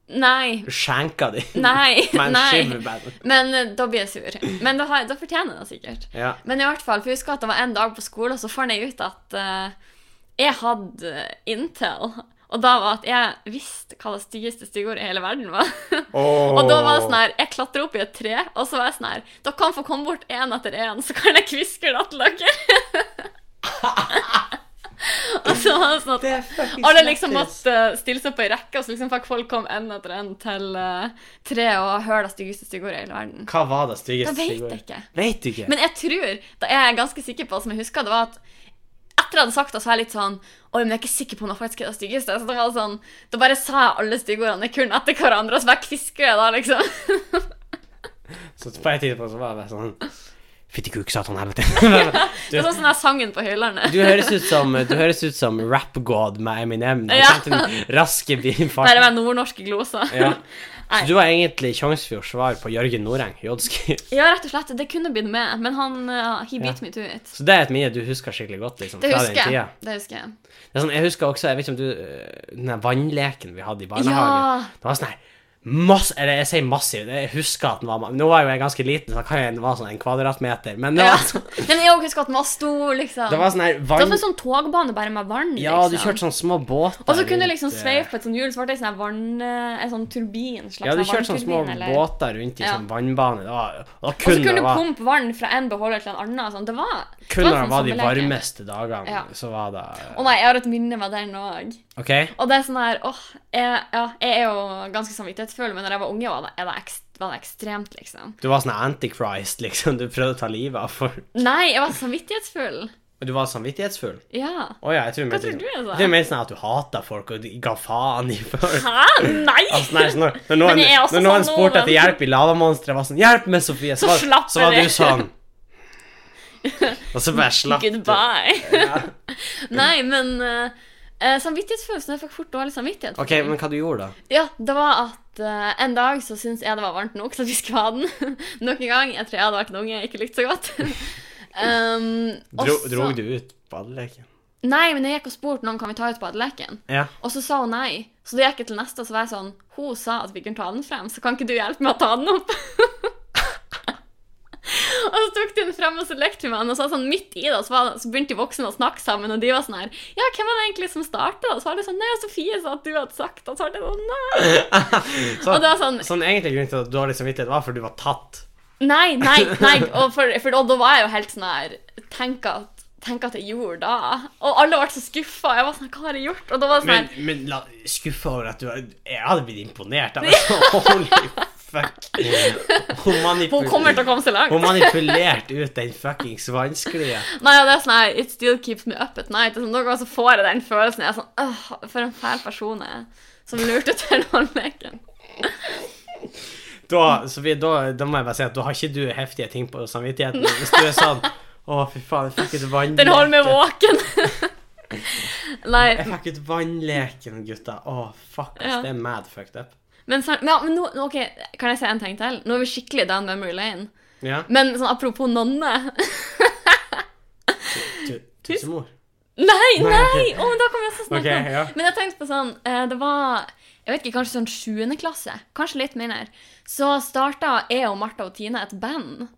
Speaker 1: (laughs)
Speaker 2: Nei.
Speaker 1: Du skjenka dem.
Speaker 2: Nei.
Speaker 1: (laughs) Med en
Speaker 2: nei.
Speaker 1: skiverband.
Speaker 2: Men eh, da blir jeg sur. Men da, har, da fortjener jeg det sikkert.
Speaker 1: Ja.
Speaker 2: Men i hvert fall, for jeg husker at det var en dag på skolen, og så fant jeg ut at eh, jeg hadde eh, Intel. Og da var at jeg visste hva det styggeste styggeordet i hele verden var. (laughs) Og da var det sånn her, jeg klatra opp i et tre, og så var jeg sånn her Dere kan få komme bort én etter én, så kan jeg kviskre det til dere. (laughs) og så var det sånn at alle liksom måtte eh, stille seg på ei rekke, og så liksom fikk folk komme én etter én til eh, tre og høre det styggeste styggordet i hele verden.
Speaker 1: Hva var det
Speaker 2: Da
Speaker 1: styggeste?
Speaker 2: vet
Speaker 1: Sigurd?
Speaker 2: jeg ikke.
Speaker 1: Vet du ikke?
Speaker 2: Men jeg tror, da er jeg ganske sikker på, som jeg husker, det var at etter jeg hadde sagt det, så var jeg litt sånn Oi, men jeg er ikke sikker på om det faktisk er det styggeste. Så da, var det sånn, da bare sa jeg alle styggordene jeg kunne etter hverandre, og så bare kvisker jeg da, liksom.
Speaker 1: Så på et tidspunkt så var det sånn Fytti kuk, satan
Speaker 2: (laughs)
Speaker 1: helvete.
Speaker 2: Det var sånn den der sangen på Høylerne.
Speaker 1: Du høres ut som, du høres ut som rap god med Eminem. Når
Speaker 2: Ja.
Speaker 1: ja. raske
Speaker 2: Der er (laughs)
Speaker 1: bilfarten.
Speaker 2: vel nordnorske gloser.
Speaker 1: Ja. Så du var egentlig Tjongsfjords svar på Jørgen Noreng, Jodsky.
Speaker 2: (laughs) Ja, rett og slett. Det kunne blitt med, men han uh, he beat me to it.
Speaker 1: Så det er et minne du husker skikkelig godt, liksom.
Speaker 2: Det
Speaker 1: fra
Speaker 2: husker
Speaker 1: den
Speaker 2: jeg.
Speaker 1: tida.
Speaker 2: Det husker jeg.
Speaker 1: Det er sånn, jeg husker også, jeg vet ikke om du øh, Den der vannleken vi hadde i barnehagen.
Speaker 2: Ja.
Speaker 1: Det var sånn her mass, Eller jeg sier massiv, jeg husker at den var ma- Nå var jo jeg ganske liten, så da kan jeg- den var sånn en kvadratmeter, men det
Speaker 2: Ja.
Speaker 1: var (laughs) sånn
Speaker 2: Men jeg husker at den var stor, liksom.
Speaker 1: Det var sånn her
Speaker 2: Det var
Speaker 1: vann...
Speaker 2: som en sånn togbane bare med vann, liksom.
Speaker 1: Ja, du kjørte sånn små båter.
Speaker 2: Og så kunne du
Speaker 1: rundt,
Speaker 2: liksom
Speaker 1: eh,
Speaker 2: sveive på et sånt hjul, så ble det en sånn vann... eh, En sånn turbin. slags
Speaker 1: Ja, du
Speaker 2: sånn
Speaker 1: kjørte sånne små
Speaker 2: vannturbin, eller-
Speaker 1: båter rundt i
Speaker 2: Ja.
Speaker 1: sånn vannbane. Det var, da
Speaker 2: Og så
Speaker 1: kunne,
Speaker 2: kunne
Speaker 1: det
Speaker 2: du
Speaker 1: var,
Speaker 2: pumpe vann fra en beholder til en annen. og Sånn. Det var det
Speaker 1: kun
Speaker 2: var
Speaker 1: når
Speaker 2: en
Speaker 1: det
Speaker 2: sånn
Speaker 1: var de
Speaker 2: sommerleke.
Speaker 1: varmeste dagene,
Speaker 2: Ja.
Speaker 1: så var det
Speaker 2: Å nei, jeg har et minne med den òg.
Speaker 1: OK?
Speaker 2: Og det er sånn her åh, jeg, ja, jeg er jo ganske samvittighetsfull, men da jeg var unge, var det, er det, ekst, var det ekstremt, liksom.
Speaker 1: Du var sånn antichrist, (laughs) liksom. Du prøvde å ta livet av folk.
Speaker 2: Nei, jeg var samvittighetsfull.
Speaker 1: Du var samvittighetsfull.
Speaker 2: Ja.
Speaker 1: Å ja, jeg tror du mente
Speaker 2: tror
Speaker 1: liksom-
Speaker 2: du det
Speaker 1: Jeg
Speaker 2: var?
Speaker 1: tror du mente sånn at du hata folk og de ga faen i (laughs) folk.
Speaker 2: Hæ? Nei!
Speaker 1: Altså, nei, så når, når noen,
Speaker 2: Men jeg er også
Speaker 1: når noen
Speaker 2: sånn
Speaker 1: spurte
Speaker 2: nå,
Speaker 1: etter hjelp i lavamonsteret, var sånn 'Hjelp meg, Sofie!'
Speaker 2: Så
Speaker 1: var-
Speaker 2: slapp
Speaker 1: så var
Speaker 2: jeg
Speaker 1: du
Speaker 2: det. (laughs)
Speaker 1: sånn. Og så bare slapp du.
Speaker 2: Goodbye.
Speaker 1: Ja.
Speaker 2: Nei, men uh, samvittighetsfølelsen Jeg fikk fort dårlig samvittighet. for
Speaker 1: OK,
Speaker 2: ting.
Speaker 1: men hva du gjorde da?
Speaker 2: Ja, det var at eh, en dag så syntes jeg det var varmt nok til at vi skulle ha den. (laughs) Nok en gang. Jeg tror jeg hadde vært en unge jeg ikke likte så godt. (laughs) um, og
Speaker 1: Dro,
Speaker 2: så-
Speaker 1: Drog du ut badeleken?
Speaker 2: Nei, men jeg gikk og spurte noen kan vi ta ut badeleken.
Speaker 1: Ja.
Speaker 2: Og så sa hun nei. Så da gikk jeg til neste, og så var jeg sånn Hun sa at vi kunne ta den frem, så kan ikke du hjelpe meg å ta den opp? (laughs) og så tok de den frem, og så lekte vi med den, og så var det sånn midt i det, så, var, så begynte de voksne å snakke sammen, og de var sånn her Ja, hvem var det egentlig som starta? Og så var det sånn Nei, Sofie sa at du hadde sagt det, og så var det sånn Nei!
Speaker 1: Så,
Speaker 2: Og det var sånn
Speaker 1: Sånn egentlig grunnen til at dårlig samvittighet var fordi du var tatt.
Speaker 2: Nei, nei, nei. Og, for, for, og da var jeg jo helt sånn her Tenk at, tenk at jeg gjorde da. Og alle ble så skuffa. Jeg var sånn Hva har jeg gjort? Og da var det sånn
Speaker 1: Men,
Speaker 2: her
Speaker 1: men la, skuffa over at du var- Jeg hadde blitt
Speaker 2: (laughs)
Speaker 1: imponert. Jeg var så, holy fuck. Hun, manipul-
Speaker 2: Hun kommer til å komme så langt.
Speaker 1: Hun manipulerte ut den fuckings vanskelige.
Speaker 2: Nei, og det er sånn her It still keeps me up at night. Det er Sånn, noen ganger så får jeg den følelsen. Jeg er sånn Åh, for en fæl person jeg er. Som lurte til håndleken.
Speaker 1: Da, Sofie, da, da må jeg bare si at da har ikke du heftige ting på samvittigheten. Hvis du er sånn Å, fy faen, jeg fikk ut vannleken.
Speaker 2: Den holder meg
Speaker 1: (laughs)
Speaker 2: våken. Nei,
Speaker 1: Jeg fikk ut vannleken, gutta. Å, fuck. ass,
Speaker 2: Ja.
Speaker 1: Det er mad fucked up.
Speaker 2: men, så, men, ja, men nå, nå- ok, kan jeg si en ting til? Nå er vi skikkelig down memory lane.
Speaker 1: Ja.
Speaker 2: Men sånn apropos nonne (laughs)
Speaker 1: Tu- Tusenmor.
Speaker 2: Nei,
Speaker 1: Nei,
Speaker 2: nei!
Speaker 1: ok.
Speaker 2: Å, men da kan vi også snakke
Speaker 1: Ok, ja.
Speaker 2: om Men jeg tenkte på sånn eh, Det var jeg vet ikke, kanskje sånn 7. klasse, kanskje litt mindre, så starta jeg og Martha og Tina et band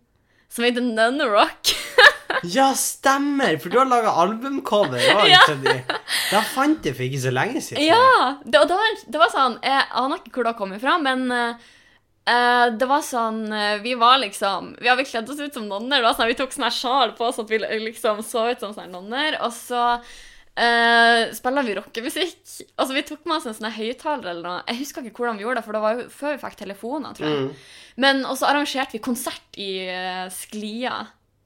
Speaker 2: som heter Nunnerock.
Speaker 1: Ja, stemmer! For du har laga albumcover. Det var
Speaker 2: (laughs) Ja.
Speaker 1: ikke det. Da fant jeg for ikke så lenge siden.
Speaker 2: Ja! Det, og det, var, det var sånn Jeg aner ikke hvor det kom ifra, men eh, eh, det var sånn eh, Vi var liksom Vi hadde kledd oss ut som nonner. Det var sånn, at vi tok sånn her sjal på oss at vi liksom så ut som sånne nonner. Og så uh, spilla vi rockemusikk. Og så vi tok med oss en sånn her høyttaler eller noe. Jeg husker ikke hvordan vi gjorde det, for det var jo før vi fikk telefoner, tror jeg.
Speaker 1: Mm.
Speaker 2: Men og så arrangerte vi konsert i eh, Sklia.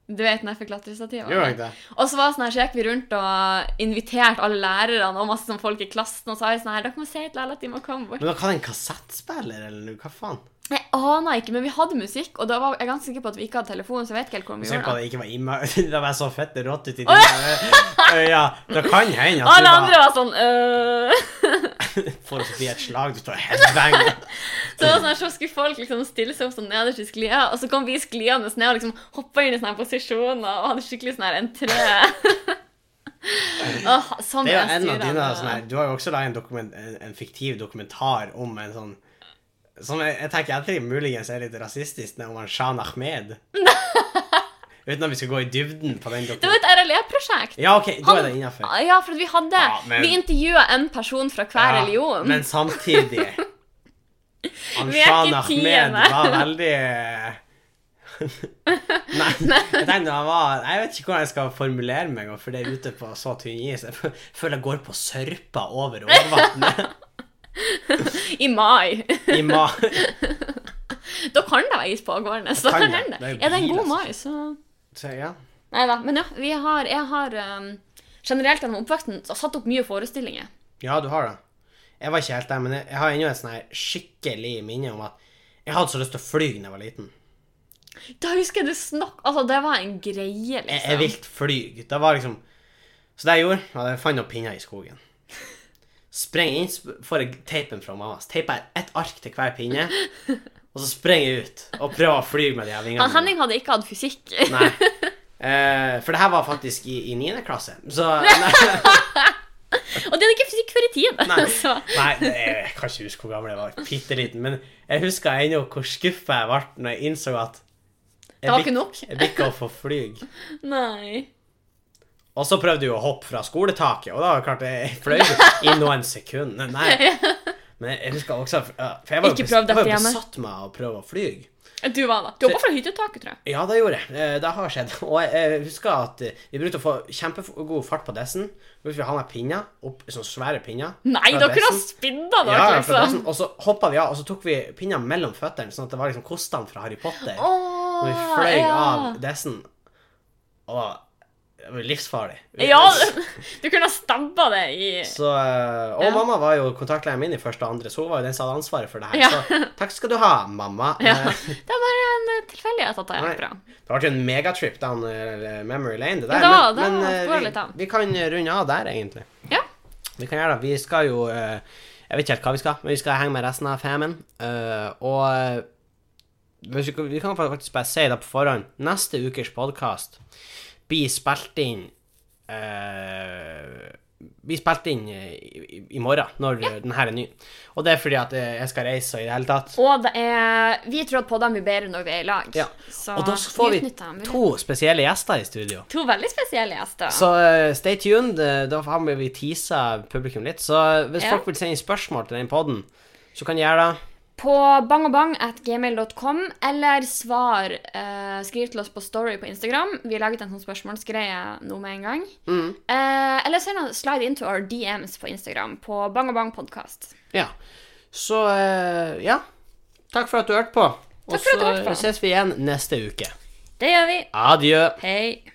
Speaker 2: Du vet nedfor klatrestativet?
Speaker 1: Gjør jeg det?
Speaker 2: Og så var det sånn her, så gikk vi rundt og inviterte alle lærerne og masse sånn folk i klassen og sa jo sånn her, dere må si til alle at de må komme bort.
Speaker 1: Men dere hadde en kassettspiller, eller noe? hva faen?
Speaker 2: Jeg aner ikke, men vi hadde musikk, og da var jeg ganske sikker på at vi ikke hadde telefon, så jeg vet ikke helt hvordan vi
Speaker 1: Se på
Speaker 2: gjorde det.
Speaker 1: det ikke var imma... (laughs) Det var så fett det rått
Speaker 2: (laughs)
Speaker 1: ut i dine øyne. Det kan hende at du
Speaker 2: Alle
Speaker 1: bare
Speaker 2: andre var sånn øh.
Speaker 1: får forbi et slag, du tar headbang.
Speaker 2: (laughs) Så det var sånn her, så skulle folk liksom stille seg opp sånn nederst i sklia, og så kom vi skliende ned og liksom hoppa inn i sånne her posisjoner og hadde skikkelig sånn her entré.
Speaker 1: (laughs)
Speaker 2: Åh, sånn
Speaker 1: Det er
Speaker 2: er
Speaker 1: jo
Speaker 2: altså.
Speaker 1: en av dine
Speaker 2: styrende.
Speaker 1: sånne her Du har jo også laget en, dokument, en, en fiktiv dokumentar om en sånn Som jeg, jeg tenker etter muligens er litt rasistisk, den om han Shan
Speaker 2: (laughs)
Speaker 1: Ahmed. Uten at vi skal gå i dybden på den
Speaker 2: Det var
Speaker 1: dokumenten.
Speaker 2: et RLE-prosjekt.
Speaker 1: Ja, OK, da er det innafor.
Speaker 2: Ja, for at vi hadde
Speaker 1: Ja, men-
Speaker 2: Vi intervjua en person fra hver religion.
Speaker 1: Men
Speaker 2: (laughs)
Speaker 1: samtidig Han
Speaker 2: Vi er ikke
Speaker 1: Shan Ahmed
Speaker 2: tiende.
Speaker 1: var veldig eh,
Speaker 2: (laughs)
Speaker 1: Nei, jeg tenkte han var Jeg vet ikke hvordan jeg skal formulere meg, for det er ute på så tynn is. Jeg fø- føler jeg går på sørpa over overvannet
Speaker 2: I mai.
Speaker 1: i ma...
Speaker 2: (laughs) Da kan det være is pågående. Så
Speaker 1: Kan
Speaker 2: kan
Speaker 1: det.
Speaker 2: hende.
Speaker 1: Det er jo
Speaker 2: Er det en
Speaker 1: bil,
Speaker 2: god
Speaker 1: altså.
Speaker 2: mai, så
Speaker 1: Så ja.
Speaker 2: Nei da. Men ja, vi har, jeg har um, generelt gjennom oppveksten så satt opp mye forestillinger.
Speaker 1: ja, du har det. Jeg var ikke helt der, men jeg jeg har ennå et sånn her skikkelig minne om at jeg hadde så lyst til å fly da jeg var liten.
Speaker 2: Da husker jeg du snakk... Altså, det var en greie, liksom.
Speaker 1: Jeg, jeg vilt flyg. Det var liksom Så det jeg gjorde, var at jeg fant noen pinner i skogen. sprenger inn, sp- får jeg teipen fra mamma. Så teiper jeg ett ark til hver pinne, og så sprenger jeg ut og prøver å fly med de her vingene.
Speaker 2: Han Henning hadde ikke hatt fysikk.
Speaker 1: Nei. Eh, for det her var faktisk i, i 9. klasse. Så
Speaker 2: (laughs)
Speaker 1: nei,
Speaker 2: (laughs) Og de hadde ikke fysikk før i tiende.
Speaker 1: Nei.
Speaker 2: (laughs) Så
Speaker 1: nei det er- jeg kan ikke huske hvor gammel jeg var. Bitte liten. Men jeg husker ennå hvor skuffa jeg ble når jeg innså at
Speaker 2: det var ikke nok.
Speaker 1: Jeg bikka å få flyg.
Speaker 2: Nei.
Speaker 1: Og så prøvde jeg å hoppe fra skoletaket, og da var det klart jeg
Speaker 2: (laughs)
Speaker 1: fløy jo i noen sekunder. Nei. Men jeg husker også For jeg var jo,
Speaker 2: Ikke
Speaker 1: bes-
Speaker 2: prøv dette
Speaker 1: jeg var jo
Speaker 2: hjemme.
Speaker 1: besatt med å prøve å fly.
Speaker 2: Du var da. Du var bare fra hyttetaket, tror jeg.
Speaker 1: Ja, det gjorde jeg. Eh, Det har skjedd. Og jeg- jeg husker at eh, vi brukte å få kjempegod fart på dessen. Vi fikk ha med pinner, opp, sånne svære pinner.
Speaker 2: Nei,
Speaker 1: fra
Speaker 2: dere har
Speaker 1: dessen.
Speaker 2: spidda dere,
Speaker 1: Ja, ja, fra
Speaker 2: liksom.
Speaker 1: dessen. Og så hoppa vi av, og så tok vi pinner mellom føttene, sånn at det var liksom kostene fra Harry Potter. Og vi
Speaker 2: Åh,
Speaker 1: fløy
Speaker 2: ja.
Speaker 1: av dessen. Og det var livsfarlig.
Speaker 2: Ja, du kunne ha stabba det i
Speaker 1: Så, eh, og
Speaker 2: Ja.
Speaker 1: mamma var jo kontaktlæreren min i første og andre, så hun var jo den som hadde ansvaret for det her.
Speaker 2: Ja.
Speaker 1: Så takk skal du ha, mamma.
Speaker 2: ja.
Speaker 1: Eh,
Speaker 2: Det er bare en eh, tilfeldighet at det
Speaker 1: Nei.
Speaker 2: gikk bra.
Speaker 1: Det ble jo en megatrip down eh, memory lane, det der.
Speaker 2: Ja, da-
Speaker 1: men
Speaker 2: da
Speaker 1: men, eh,
Speaker 2: går det litt av.
Speaker 1: vi, vi kan runde av der, egentlig.
Speaker 2: Ja.
Speaker 1: Vi kan gjøre det. Vi skal jo eh, Jeg vet ikke helt hva vi skal, men vi skal henge med resten av famen. eh, og eh, hvis vi, vi kan faktisk bare si det på forhånd. Neste ukers podkast blir spilt inn eh, blir spilt inn eh, i, i morgen, når eh, den her er ny. Og det er fordi at eh, jeg skal reise og i det hele tatt.
Speaker 2: Og det er Vi tror at poddene blir bedre når vi er i lag.
Speaker 1: Ja.
Speaker 2: Så
Speaker 1: Og da får vi
Speaker 2: utnytter dem.
Speaker 1: to spesielle gjester i studio.
Speaker 2: To veldig spesielle gjester.
Speaker 1: Så eh, stay tuned. eh, Da har vi teasa publikum litt. Så eh, hvis
Speaker 2: Ja.
Speaker 1: folk vil sende spørsmål til den poden, så kan de gjøre det.
Speaker 2: På bangogbang.gmail.com, eller svar eh, Skriv til oss på Story på Instagram. Vi har laget en sånn spørsmålsgreie nå med en gang.
Speaker 1: Mm.
Speaker 2: Eh, eller send en slide into our DMs på Instagram på bangobangpodkast.
Speaker 1: Ja. Så eh, ja. Takk for at du hørte på. Og
Speaker 2: Takk for at du hørte
Speaker 1: så
Speaker 2: på.
Speaker 1: ses vi igjen neste uke.
Speaker 2: Det gjør vi.
Speaker 1: Adjø.
Speaker 2: Hei.